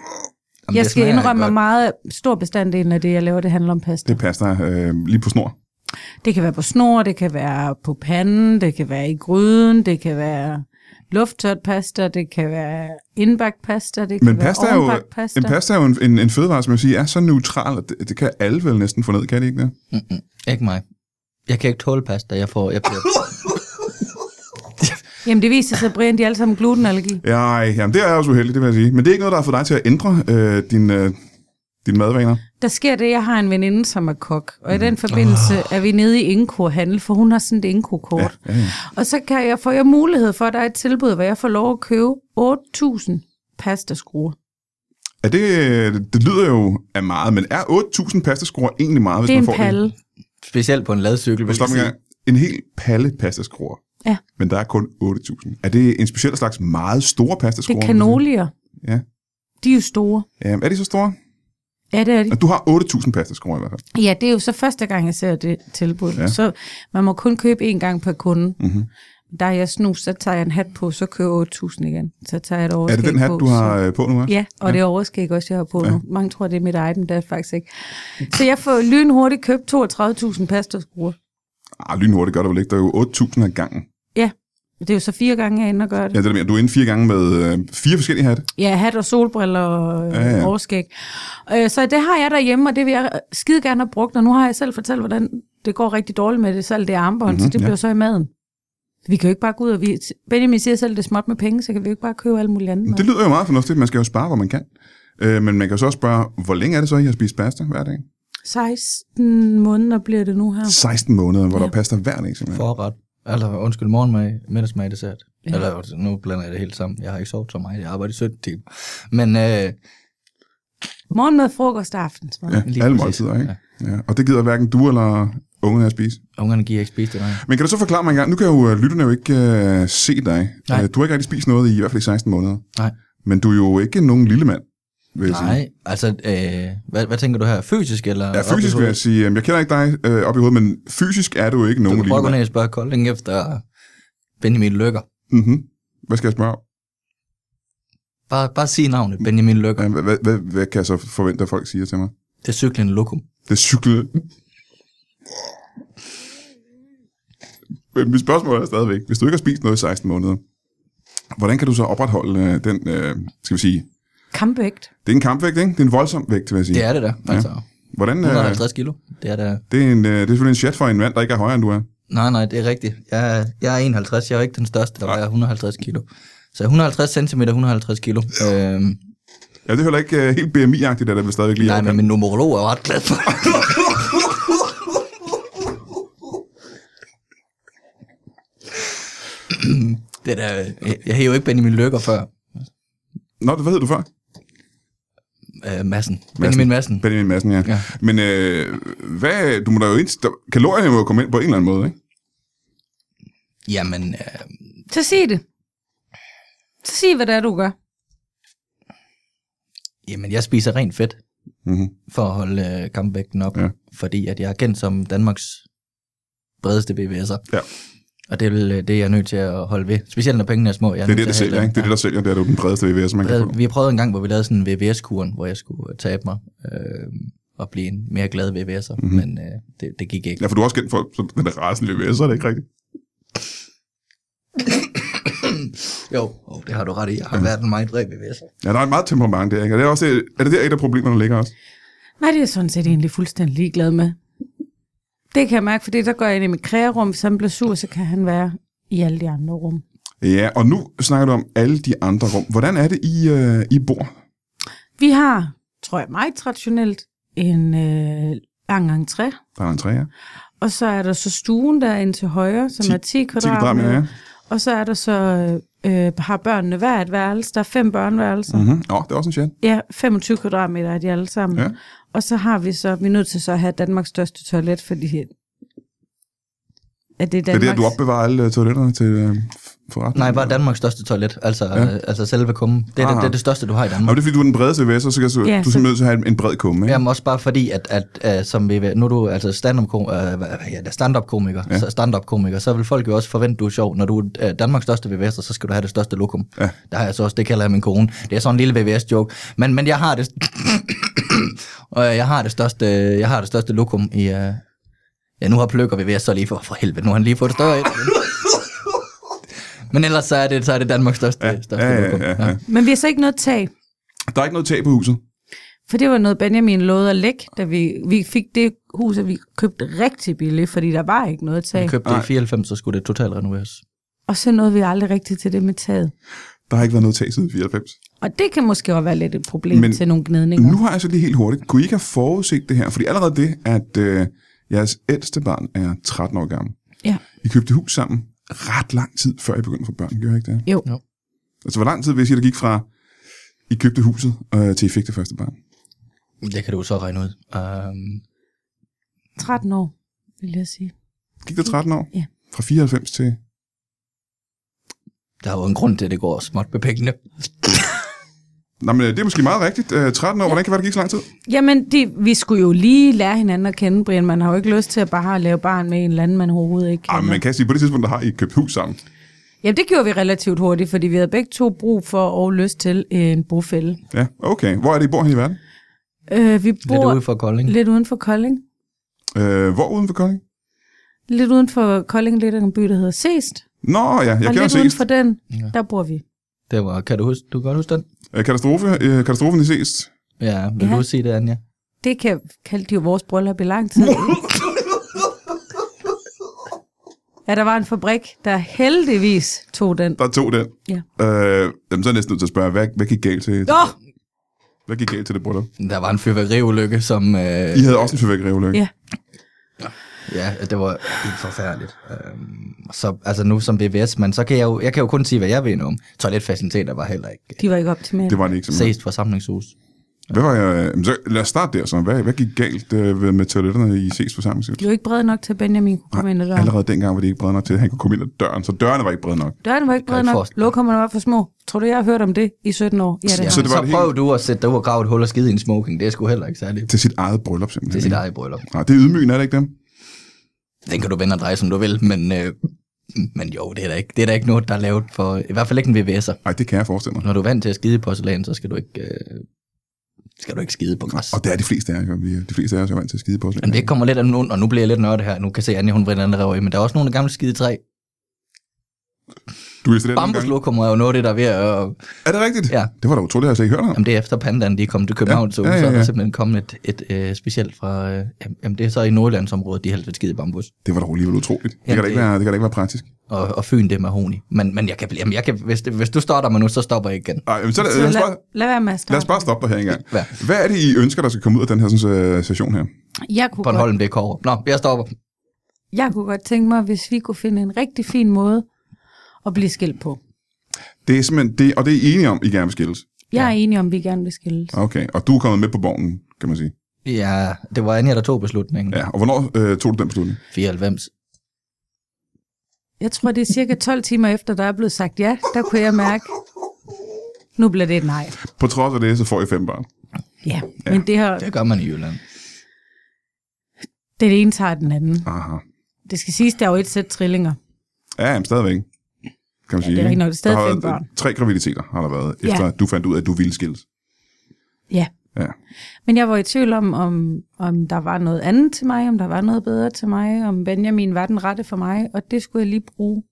jeg
det
skal
smager
indrømme, at
godt.
meget stor bestanddelen af det, jeg laver, det handler om pasta.
Det passer øh, lige på snor.
Det kan være på snor, det kan være på panden, det kan være i gryden, det kan være lufttørt pasta, det kan være indbagt pasta, det kan
Men
være
pasta er, jo,
ovenbagt pasta.
en pasta er jo en, en, en fødevare, som jeg siger, er så neutral, at det, det kan alle vel næsten få ned, kan det ikke det?
Ikke mig. Jeg kan ikke tåle pasta, jeg får... Jeg bliver...
Jamen det viser sig, Brian, de er alle sammen glutenallergi.
Ej, jamen det er også uheldigt, det vil jeg sige. Men det er ikke noget, der har fået dig til at ændre øh, din, øh, dine madvaner.
Der sker det, jeg har en veninde, som er kok,
Mm.
og i den forbindelse
Ah.
oh. er vi nede i Inko-handel, for hun har sådan et Inko-kort. Ja, ja, ja. Og så kan jeg, får jeg mulighed for, at der er et tilbud, hvor jeg får lov at købe 8.000 pastaskruer.
Er det, øh, det lyder jo af meget, men er 8.000 pastaskruer egentlig meget, hvis
Det er
man
en
får
palle.
det?
Specielt på en ladcykel. vil
Men
jeg
stop en
sige.
gang. En hel palle pastaskruer.
Ja.
Men der er kun 8.000. Er det en speciel slags meget store
Det
pastaskruer?
er
vil du sige?
kanolier.
Ja.
De er jo store.
Ja, Øhm, er de så store?
Ja, det er de.
Du har 8.000 pastaskruer i hvert fald.
Ja, det er jo så første gang, jeg ser det tilbud.
Ja. Mhm.
Ja. Så man må kun købe én gang per kunde. Mm-hmm. Der er jeg snus, så tager jeg en hat på, så kører jeg 8.000 igen. Så tager jeg et
Er
overskæg
det den hat,
på,
du har
Så...
øh, på nu? Her?
Ja, og ja. det er overskæg også, jeg har på ja. nu. Mange tror, det er mit eget, men det er det faktisk ikke. Så jeg får lynhurtigt købt 32.000 pastaskruer.
Ah, lynhurtigt gør det vel ikke. Der er jo 8.000 ad gangen.
Ja, det er jo så fire gange, jeg er inde og gøre det.
Ja, det er det, jeg mener. du er inde fire gange med øh, fire forskellige hatte.
Ja, hat og solbriller og
Ja,
ja,
ja.
ja. overskæg. Øh, så det har jeg derhjemme, og det vil jeg skide gerne have brugt. Og nu har jeg selv fortalt, hvordan det går rigtig dårligt med det salg, det armbånd, mm-hmm, så det
Mhm, ja.
bliver så i maden. Vi kan jo ikke bare gå ud og... Vi, Benjamin siger selv, det er småt med penge, så kan vi jo ikke bare købe alt muligt andet.
Det lyder jo meget fornuftigt. Man skal jo spare, hvor man kan. Øh, men man kan jo så også spørge, hvor længe er det så, I har spist pasta hver dag?
mad. 16 måneder bliver det nu her.
16 måneder, hvor der er pasta hver dag, simpelthen.
Forret. Eller undskyld, morgenmad, middagsmad, dessert. Ja. Eller nu blander jeg det helt sammen. Jeg har ikke sovet så meget. Jeg arbejder i 17 timer. Men øh,
Morgenmad, frokost og aftensmad.
Ja,
Ja.
Lige
alle
præcis.
måltider, ikke? Ja. Ja. Og det gider hverken du eller ungerne at spise.
ungerne giver ikke spise det, nej.
Men kan du så forklare mig engang, nu kan jo øh, lytterne jo ikke øh, se dig.
Nej.
Øh, Du har ikke rigtig spist noget i, i hvert fald i 16 måneder.
Nej.
Men du er jo ikke nogen lille mand, vil jeg sige.
Nej, altså, øh, hvad, hvad tænker du her? Fysisk eller?
Ja, fysisk vil jeg sige, øhm, jeg kender ikke dig øh, op i hovedet, men fysisk er du ikke
Du
nogen
kan
lille
prøve at gå
mand.
ned og spørge Kolding efter Benjamin Lykker.
Mm-hmm. Hvad skal jeg spørge om?
Bare, bare sig navnet, Benjamin Lykker.
Ja, Øhm, Hvad, hvad, hvad, hvad kan jeg så forvente, at folk siger til mig?
Det er cyklen lokum.
Det er cyklet. Men mit spørgsmål er stadigvæk, hvis du ikke har spist noget i 16 måneder, hvordan kan du så opretholde øh, den, øh, skal vi sige,
Kampvægt.
det er en kampvægt, ikke? Det er en voldsom vægt, vil jeg sige.
Det er det der, altså.
Hvordan, øh,
150 kilo. Det er der.
det, er en, øh, det er selvfølgelig en chat for en mand, der ikke er højere, end du er.
Nej, nej, det er rigtigt. Jeg er, jeg er 51, jeg er jo ikke den største, der vejer 150 kilo. Så 150 cm, 150 kilo. Øhm,
Ja, det er heller ikke øh, helt BMI-agtigt, at det vil stadigvæk lige
nej,
overkant.
men min numerolog er jo ret glad for det. det der, jeg, jeg hed jo ikke Benjamin Løkker før.
Nå, hvad hed du før?
Øh, massen. Benjamin Massen.
Benjamin Madsen, ja. ja.
Ja.
Men øh, hvad, du må da jo ind, der, kalorierne må jo komme ind på en eller anden måde, ikke?
Jamen, øh,
Så sig det. Så sig, hvad det er, du gør.
jamen, jeg spiser rent fedt
Mm-hmm.
for at holde øh, kampvægten op.
Ja.
Ja. Fordi at jeg er kendt som Danmarks bredeste BVS'er.
Ja.
Og det er vel øh, det, jeg er nødt til at holde ved. Specielt når pengene er små. Jeg
Det er det, der sælger, ikke? Det er det, der sælger, det er jo den bredeste VVS, man kan få.
Vi har prøvet en gang, hvor vi lavede sådan en VVS-kuren, hvor jeg skulle øh, tabe mig øh, og blive en mere glad VVS'er. Mm-hmm. Men øh, det, det gik ikke.
Mhm. Ja, for du er også kendt for så den der rasen VVS, er det ikke rigtigt?
Jo, oh, det har du ret i. Jeg har været en meget bred VVS'er.
Ja, der er et meget temperament der, ikke? Og det er, også, er det der et af problemerne ligger også?
Nej, det er jeg sådan set egentlig fuldstændig ligeglad med. Det kan jeg mærke, fordi der går jeg ind i mit krægerum. Hvis han bliver sur, så kan han være i alle de andre rum.
Ja, og nu snakker du om alle de andre rum. Hvordan er det, I, øh, I bor?
Vi har, tror jeg meget traditionelt, en øh, lang entré.
Der er en træer.
Og så er der så stuen derinde til højre, som
Ti-
er 10
kvadratmeter,
kvadratmeter.
ja.
Og så er der så, øh, har børnene hver et værelse. Der er fem børneværelser. Mm.
Mm-hmm. Nå, det er også en chat.
Ja, 25 kvadratmeter er de alle sammen.
Ja.
Og så har vi så, vi er nødt til så at have Danmarks største toilet, fordi at det
Det er
er Danmarks...
der, du opbevarer alle øh, toiletterne til øh, forretningen?
Nej, bare Danmarks største toilet, altså, ja. øh, altså selve kummen. Det er, det,
Aha.
det er det største, du har i
Nå,
Danmark.
men det er fordi, du er den brede CVS'er, så kan du, ja,
Ja,
du er
så-
simpelthen nødt til at have en, en bred kumme. Ikke?
Jamen også bare fordi, at, at, at øh, som vi, nu er du altså stand-up-komiker, øh, ja, stand-up-komiker,
Ja.
ja. stand-up-komiker, så vil folk jo også forvente, du er sjov. Når du er øh, Danmarks største VVS'er, så skal du have det største lokum.
Ja.
Der har jeg så også, det kalder jeg min kone. Det er sådan en lille VVS-joke. Men, men jeg har det... og jeg har det største, jeg har det største lokum i... Øh, ja, nu har Pløkker VVS så lige for, for helvede, nu har han lige fået det større ind. Men ellers så er det, så er det Danmarks største, ja. største
ja, ja,
lokum.
ja, ja.
Men vi har så ikke noget tag,
Der er ikke noget tag på huset.
for det var noget Benjamin lovede at lægge, da vi, vi fik det hus, at vi købte rigtig billigt, fordi der var ikke noget
Vi
tag.
købte det i 94, så skulle det totalt renoveres.
Og så nåede vi aldrig rigtigt til det med taget.
Der har ikke været noget tag siden 94.
Og det kan måske også være lidt et problem
Men
Men til nogle gnidninger.
Nu har jeg så lige helt hurtigt. Kunne I ikke have forudset det her? Fordi allerede det, at øh, jeres ældste barn er 13 år gammel.
Ja.
I købte hus sammen ret lang tid, før I begyndte at få børn. Gjorde I ikke det?
Jo.
Jo.
Altså, hvor lang tid vil I sige, der gik fra, I købte huset, øh, til I fik det første barn?
Det kan du jo så regne ud. Um,
13 år, vil jeg sige.
Gik der 13 år?
Ja.
Fra 94 til...
der er jo en grund til, at det går småt med pengene.
Nej, men øh, det er måske meget rigtigt. Øh, 13 år, hvordan kan det være, det gik så lang tid?
Jamen, det, vi skulle jo lige lære hinanden at kende, Brian. Man har jo ikke lyst til at bare lave barn med en eller anden, man overhovedet ikke
Ej,
kender.
Ah, man kan sige, på det tidspunkt, der har I købt hus sammen.
Jamen, det gjorde vi relativt hurtigt, fordi vi havde begge to brug for og lyst til en bofælde.
Ja, okay. Hvor er det, I bor hen i verden?
Øh, vi
Lidt
bor
ude for Kolding.
lidt uden for Kolding.
Øh, hvor uden for Kolding?
Lidt uden for Kolding, lidt af en by, der hedder Seest.
Nå ja, jeg
og
kender
lidt uden
Seest.
for den,
Ja.
der bor vi.
Det var, kan du huske, du kan godt huske den?
Øh, Katastrofe, øh, katastrofen i Seest.
Ja, vil
Ja.
ja. du sige det, Anja?
Det kan kaldte de jo vores bryllup i lang tid. ja, der var en fabrik, der heldigvis tog den.
Der tog den.
Ja.
Øh, jamen, så er jeg næsten nødt til at spørge, hvad, hvad gik galt til,
Nå!
hvad gik galt til det bryllup?
Der var en fyrværkeriulykke, som... Øh,
I havde også en fyrværkeriulykke.
Ja.
ja, det var helt forfærdeligt. Øhm, så, altså nu som VVS, men så kan jeg jo, jeg kan jo kun sige, hvad jeg ved om. Toiletfaciliteter var heller ikke.
De var ikke optimale.
Det var det ikke simpelthen.
Sest forsamlingshus.
Hvad var jeg, øh, jamen, så lad os starte der så. Hvad, hvad gik galt øh, ved- med toiletterne i Seest forsamlingshus?
De var ikke brede nok til, at Benjamin kunne komme ind ad døren.
Allerede dengang var det ikke brede nok til, at han kunne komme ind ad døren, så dørene var ikke brede nok.
Døren var ikke
jeg
bred
ikke
nok.
forestille mig.
Lokummerne var for små. Tror du, jeg har hørt om det i 17 år? Ja, det
Ja,
har
Så
så
det
det
var
så
det
prøv du at sætte dig ud og grave et hul og skide i en smoking. Det er sgu heller ikke særligt.
Til sit eget bryllup simpelthen.
Det er sit eget bryllup.
Nej, det er ydmygende, er det ikke dem?
Den kan du vende og dreje, som du vil, men, øh, men jo, det er, da ikke, det er da ikke noget, der er lavet for... I hvert fald ikke en VVS'er.
Nej, det kan jeg forestille mig.
Når du er vant til at skide i porcelæn, så skal du ikke, øh, skal du ikke skide på græs.
Og det er de fleste af jer, vi er- de fleste af os er vant til at skide på os.
Men det kommer lidt af nogen, og nu bliver jeg lidt nørdet her. Nu kan jeg se, at Anja, hun vrinder andre i, men der er også nogle af gamle skide træ.
Du er student dengang.
Bambuslokum er jo noget af det, der er ved at... øh,
Er det rigtigt?
Ja.
Det var da utroligt, at jeg slet ikke hørte om.
Jamen, det er efter pandaen, de er kommet til København, ja, så, ja, ja, ja. så er der simpelthen kommet et, et øh, specielt fra... Øh, jamen, det er så i Nordlandsområdet, de har lidt skide bambus.
Det var da alligevel utroligt. Det,
Jamen,
kan da ikke
det-
være, det kan da ikke være praktisk.
Og, og Fyn, det er mahoni. Men, men jeg kan, blive- jamen, jeg kan, hvis, det, hvis du starter mig nu, så stopper jeg ikke igen.
Ej, jamen, så lad,
Så
lad, os
lad,
bare,
lad være med at
lad os
snakke.
bare stoppe dig her engang.
Hvad?
Hvad er det, I ønsker, der skal komme ud af den her sådan, øh, session her?
Jeg kunne, godt,
Bornholm, det er kover. Nå, jeg stopper.
jeg kunne godt tænke mig, hvis vi kunne finde en rigtig fin måde at blive skilt på.
Det er simpelthen det, og det er I enige om, I gerne vil skilles.
Jeg er enig om, at vi gerne vil skilles.
Okay, og du er kommet med på borgen, kan man sige.
Ja, det var Anja, der tog beslutningen. Ja.
Ja, og hvornår øh, tog du den beslutning?
94.
Jeg tror, det er cirka 12 timer efter, der er blevet sagt ja. Der kunne jeg mærke, nu bliver det et nej.
På trods af det, så får I fem børn.
Ja, men det her,
Det gør man i Jylland.
den ene tager den anden.
Aha.
Det skal siges, der er jo et sæt trillinger.
Ja, jamen, stadigvæk. Kan man sige.
det
ikke?
er rigtigt nok. Det er stadig
Der har
fem
været, øh, Tre graviditeter har der været, efter
Ja.
at du fandt ud af, at du ville skilles.
Ja,
Ja.
men jeg var i tvivl om, om, om der var noget andet til mig, om der var noget bedre til mig, om Benjamin var den rette for mig, og det skulle jeg lige bruge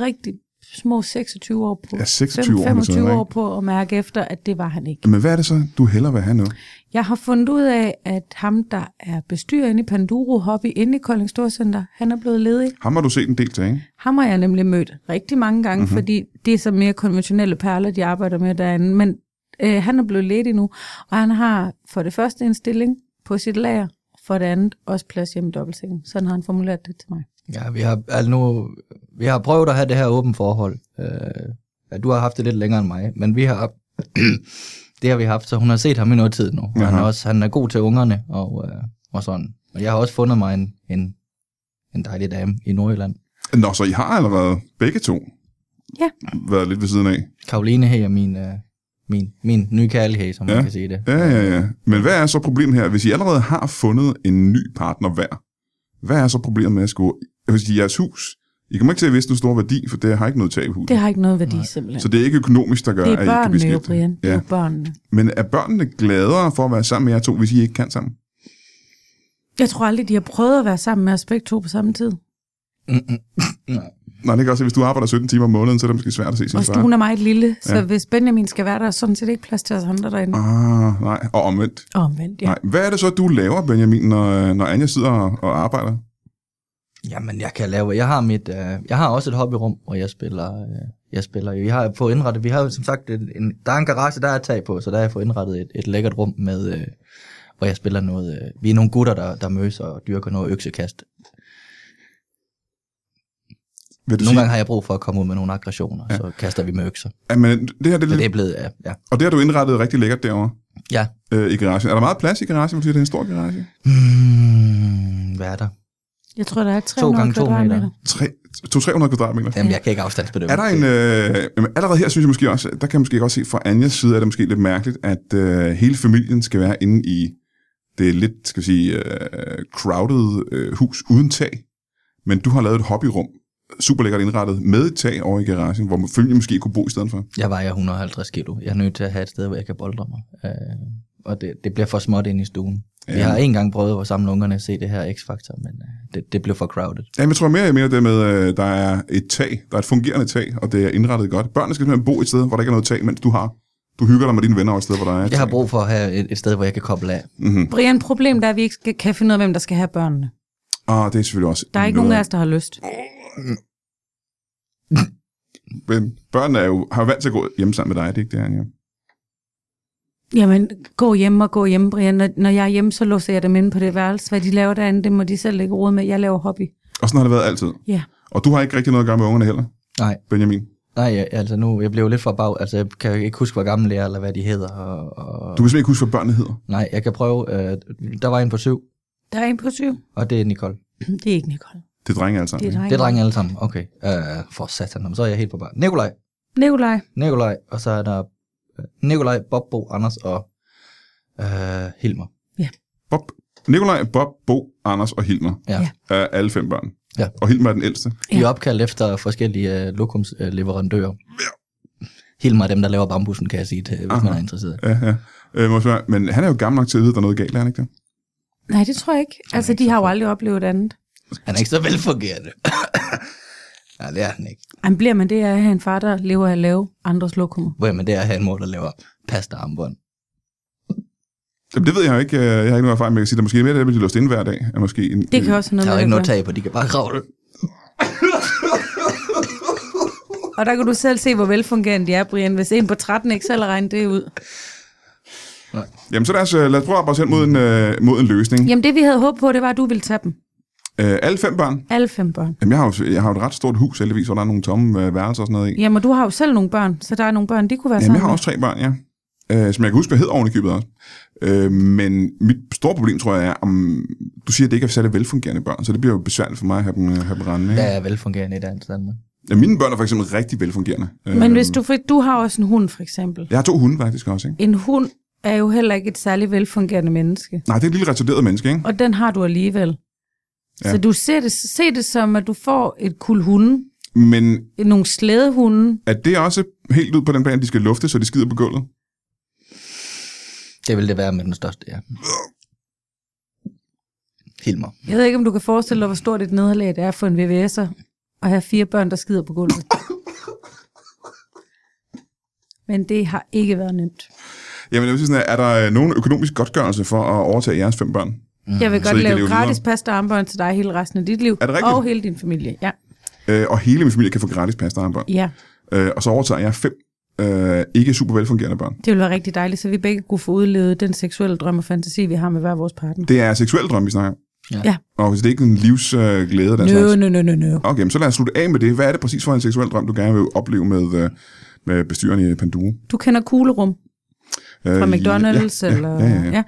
rigtig små 26 år på.
Ja, 26 år, eller sådan noget,
25 år
ikke?
på at mærke efter, at det var han ikke.
Men hvad er det så, du hellere vil have nu?
Jeg har fundet ud af, at ham, der er bestyrer inde i Panduro Hobby, inde i Kolding Storcenter, han er blevet ledig.
Ham har du set en del til, ikke?
Ham har jeg nemlig mødt rigtig mange gange,
Mhm.
mm-hmm. fordi det er så mere konventionelle perler, de arbejder med derinde. Men øh, han er blevet ledig nu, og han har for det første en stilling på sit lager, for det andet også plads hjemme i dobbeltsengen. Sådan har han formuleret det til mig.
Ja, vi har, altså nu, vi har prøvet at have det her åbent forhold. Øh, ja, du har haft det lidt længere end mig, men vi har, det har vi haft, så hun har set ham i noget tid nu. Og Han er,
Aha.
også, han er god til ungerne og, øh, og sådan. Og jeg har også fundet mig en, en, en dejlig dame i Nordjylland.
Nå, så I har allerede begge to
Ja.
været lidt ved siden af.
Karoline her er min, øh, min, min nye kærlighed, som ja.
Ja.
man kan sige det.
Ja, ja, ja. Men hvad er så problemet her? Hvis I allerede har fundet en ny partner hver, hvad er så problemet med at skulle... Jeg vil sige, jeres hus, I kommer ikke til at vise den store værdi, for det har ikke noget tab i huset.
Det har ikke noget værdi Nej. simpelthen.
Så det er ikke økonomisk, der gør,
det
at
er
I ikke kan blive
børnene jo,
skilt.
Brian. Det er
Ja.
jo børnene.
Men er børnene gladere for at være sammen med jer to, hvis I ikke kan sammen?
Jeg tror aldrig, de har prøvet at være sammen med os begge to på samme tid.
Nej, det kan også, at hvis du arbejder 17 timer om måneden, så er det måske svært at se sin
Og
far.
stuen er meget lille, så
Ja.
ja. hvis Benjamin skal være der, er sådan set ikke plads til os andre derinde.
Ah, nej. Og omvendt.
Og omvendt,
Ja.
ja.
Nej. Hvad er det så, du laver, Benjamin, når, når Anja sidder og, og arbejder?
Jamen, jeg kan lave. Jeg har mit. Øh, jeg har også et hobbyrum, hvor jeg spiller. Øh, jeg spiller. jo- Vi har på indrettet. Vi har jo som sagt en, en, der er en garage, der er et tag på, så der har jeg fået indrettet et, et lækkert rum med, øh, hvor jeg spiller noget. Øh, vi er nogle gutter, der, der mødes og dyrker noget øksekast.
Vil du
Nogle
sige,
gange har jeg brug for at komme ud med nogle aggressioner, ja. så kaster vi med økser.
at man, det her, det er
Så det
lidt,
er blevet, ja. ja.
og det har du indrettet rigtig lækkert derovre
ja.
øh, i garagen. Er der meget plads i garagen? Vil du sige, at det er en stor garage?
Hmm, hvad er der?
Jeg tror, der er
To
300
gange to meter.
kvadratmeter.
200-300 kvadratmeter. Ja.
Jamen, jeg kan ikke afstandsbedømme.
Er der en, øh, jamen, allerede her synes jeg måske også, der kan jeg måske godt se fra Anjas side, er det måske lidt mærkeligt, at øh, hele familien skal være inde i det lidt, skal vi sige, øh, crowded øh, hus uden tag. Men du har lavet et hobbyrum, super lækkert indrettet, med et tag over i garagen, hvor familien måske kunne bo i stedet for.
Jeg vejer 150 kilo. Jeg er nødt til at have et sted, hvor jeg kan boldre mig. Øh, og det, det bliver for småt ind i stuen. Ja. Jeg har en gang prøvet at samle ungerne og se det her X-Factor, men øh, det, det blev for crowded.
Jamen, jeg tror mere, jeg mener det med, øh, der er et tag, der er et fungerende tag, og det er indrettet godt. Børnene skal simpelthen bo et sted, hvor der ikke er noget tag, mens du har du hygger dig med dine venner over et sted, hvor der er et
Jeg har
tag. Mhm.
brug for at have et, et sted, hvor jeg kan koble af.
Brian, problemet er, at vi ikke skal, kan finde ud af, hvem der skal have børnene.
Og Ah, det er selvfølgelig også
Der er ikke
noget
nogen af os, der har lyst.
Men børnene er jo, har jo vant til at gå hjemme sammen med dig, det er ikke det, Anja?
Jamen, gå hjem og gå hjem, Brian. Når, når jeg er hjemme, så låser jeg dem inde på det værelse. Hvad de laver derinde, det må de selv ikke råd med. Jeg laver hobby.
Og sådan har det været altid.
Ja.
Og du har ikke rigtig noget at gøre med ungerne heller,
Nej,
Benjamin.
nej, jeg- altså nu, jeg blev lidt for bag. Altså, jeg kan jo ikke huske, hvor gammel jeg er, eller hvad de hedder. Og, og,
Du kan simpelthen ikke huske, hvad børnene hedder.
nej, jeg kan prøve. Øh, der var en på syv,
Der er en på syv.
og det er Nicole.
Det er ikke Nicole.
Det er drenge altså.
Det er drenge.
Det er drenge alle sammen. Okay, øh, for satan, jamen, så er jeg helt på bar. Nikolaj,
Nikolaj.
Nikolaj, og så er der øh, Nikolaj, Bobbo, Anders og øh, Hilmer.
Bob. Nikolaj, Bob, Bo, Anders og Hilmer
Ja.
Ja.
er alle fem børn.
Ja.
Og Hilmer er den ældste.
Vi er opkaldt efter forskellige øh, lokumsleverandører. Øh, Helt meget dem, der laver bambusen, kan jeg sige, til, hvis Aha. man
Aha.
er interesseret.
Ja, ja. Øh, må jeg spørge, men han er jo gammel nok til at vide, at der er noget galt, er han ikke det?
Nej, det tror jeg ikke. Altså, de har jo aldrig oplevet andet.
Han er ikke så velfungerende. Nej, det er han ikke.
Jamen, bliver man det af at have en far, der lever af at lave andres lokummer?
Hvor men det er at have en mor, der laver pasta armbånd.
Jamen, det ved jeg jo ikke. øh, Jeg har ikke nogen erfaring med at sige, der måske er mere det, at de låst inde hver dag. Er måske en,
Det kan også have noget
Mm. Der er jo
med
ikke
det
noget
at gøre.
tag på, de kan bare grave det.
Og der kan du selv se, hvor velfungerende de er, Brian. Hvis en på 13 ikke selv regner det ud.
Jamen, så lad os, øh, lad os prøve at arbejde os hen mod en, øh, mod en løsning.
Jamen, det vi havde håbet på, det var, at du ville tage dem.
Øh, alle fem børn.
Alle fem børn.
Jamen, jeg har jo jeg har jo et ret stort hus, heldigvis, hvor der er nogle tomme øh, værelser og sådan noget i.
Jamen, og du har jo selv nogle børn, så der er nogle børn, de kunne være
Jamen,
sammen
jeg har
med.
også tre børn, ja. Øh, som jeg kan huske, hvad hed oven i købet også. Øh, men mit store problem, tror jeg, er, om du siger, at det ikke er særlig velfungerende børn, så det bliver jo besværligt for mig at have dem, øh, have dem rendende.
Der
Ikke?
er velfungerende i dansk Danmark.
Ja. Mine børn er for eksempel rigtig velfungerende. Øh,
Men hvis du, for du har også en hund, for eksempel.
Jeg har to hunde faktisk også, ikke?
En hund er jo heller ikke et særlig velfungerende menneske.
Nej, det er et lille retarderet menneske, ikke?
Og den har du alligevel.
Ja.
Ja. Så du ser det, se det som, at du får et kul hunde,
Men
nogle slædehunde.
er det også helt ud på den plan, at de skal lufte, så de skider på gulvet?
Det vil det være med den største, ja. Hilmer.
Jeg ved ikke, om du kan forestille dig, hvor stort et nederlag det er for en VVS'er at have fire børn, der skider på gulvet. Men det har ikke været nemt.
Jamen, jeg vil sige sådan, her, er der øh, nogen økonomisk godtgørelse for at overtage jeres fem børn?
Jeg vil
Mm. Så I
godt
kan
lave
leve
gratis
videre.
pasta og armbånd til dig hele resten af dit liv.
Er det rigtigt?
Og hele din familie. Ja.
Øh, og hele min familie kan få gratis pasta og armbånd.
ja,
Øh, og så overtager jeg fem øh, ikke super velfungerende børn.
det ville være rigtig dejligt, så vi begge kunne få udlevet den seksuelle drøm og fantasi, vi har med hver vores partner.
Det er seksuel drøm, vi snakker om.
Ja.
Ja.
Og så det er ikke en livsglæde øh, glæde, den
No,
slags.
no, no, no, no.
Okay, men så lad os slutte af med det. Hvad er det præcis for en seksuel drøm, du gerne vil opleve med, øh, med bestyreren i Panduro?
Du kender Kuglerum
Øh,
fra
i-
McDonald's?
ja, ja,
eller,
Ja, ja, ja.
ja.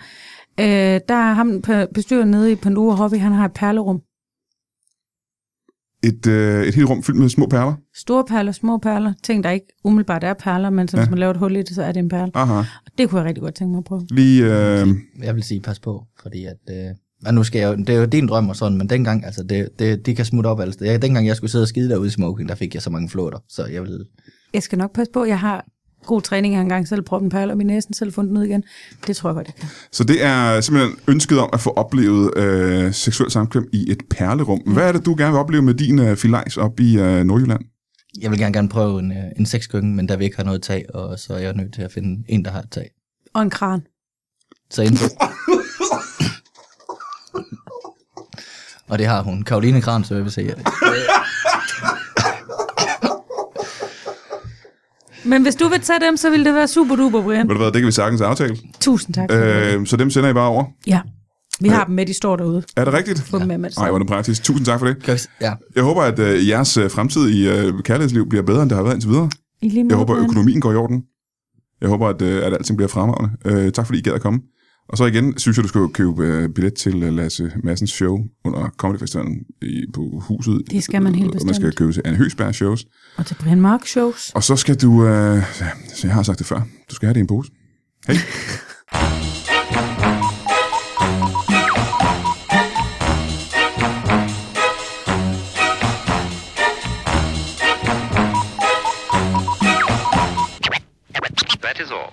Øh, der er ham på- bestyrer nede i Pandora Hobby, han har et perlerum.
Et, øh, et helt rum fyldt med små perler.
Store perler, små perler, ting der ikke umiddelbart er perler, men som,
Ja.
ja. hvis man laver et hul i det, så er det en perle.
Aha.
Det kunne jeg rigtig godt tænke mig at prøve.
Lige, øh,
Jeg vil sige, pas på, fordi at... Øh, og nu skal jeg jo, det er jo din drøm og sådan, men dengang, altså, det, det, det kan smutte op alle steder. Jeg, dengang jeg skulle sidde og skide derude i smoking, der fik jeg så mange flåter, så jeg vil...
Jeg skal nok passe på, jeg har god træning, jeg har engang selv prøvet en perle om i næsen, selv fundet den ud igen. Det tror jeg godt, jeg kan.
så det er simpelthen ønsket om at få oplevet øh, seksuel samkvem i et perlerum. Hvad er det, du gerne vil opleve med din øh, filajs op i øh, Nordjylland?
Jeg vil gerne, gerne prøve en, øh, en sexkøkken, men der vi ikke har noget tag, og så er jeg nødt til at finde en, der har et tag.
Og en kran.
Så en... og det har hun. Karoline Kran, så jeg vil sige. at-
Men hvis du vil tage dem, så vil det være super duper, Brian.
Ved du hvad, det kan vi sagtens aftale.
Tusind tak. Øh.
Øh, så dem sender I bare over.
Ja, vi
Øh.
har dem med, de står derude.
Er det rigtigt?
Få dem med med det
Nej,
samme.
hvor er det praktisk. Tusind tak for det.
Ja,
Jeg håber, at øh, jeres øh, fremtidige øh, kærlighedsliv bliver bedre, end det har været indtil videre.
I lige
Jeg
måde,
håber, at
Brian.
økonomien går i orden. Jeg håber, at, øh, at alting bliver fremragende. Øh, tak fordi I gad at komme. Og så igen, synes jeg, du skal købe øh, billet til øh, Lasse Massens show under Comedy Festivalen i, på huset.
Det skal man helt
Og Man skal
bestemt.
købe til Anne Høgsbergs shows.
Og til Brian Mark Shows.
Og så skal du, øh, ja, så jeg har sagt det før, du skal have det i en pose. Hej.
That is all.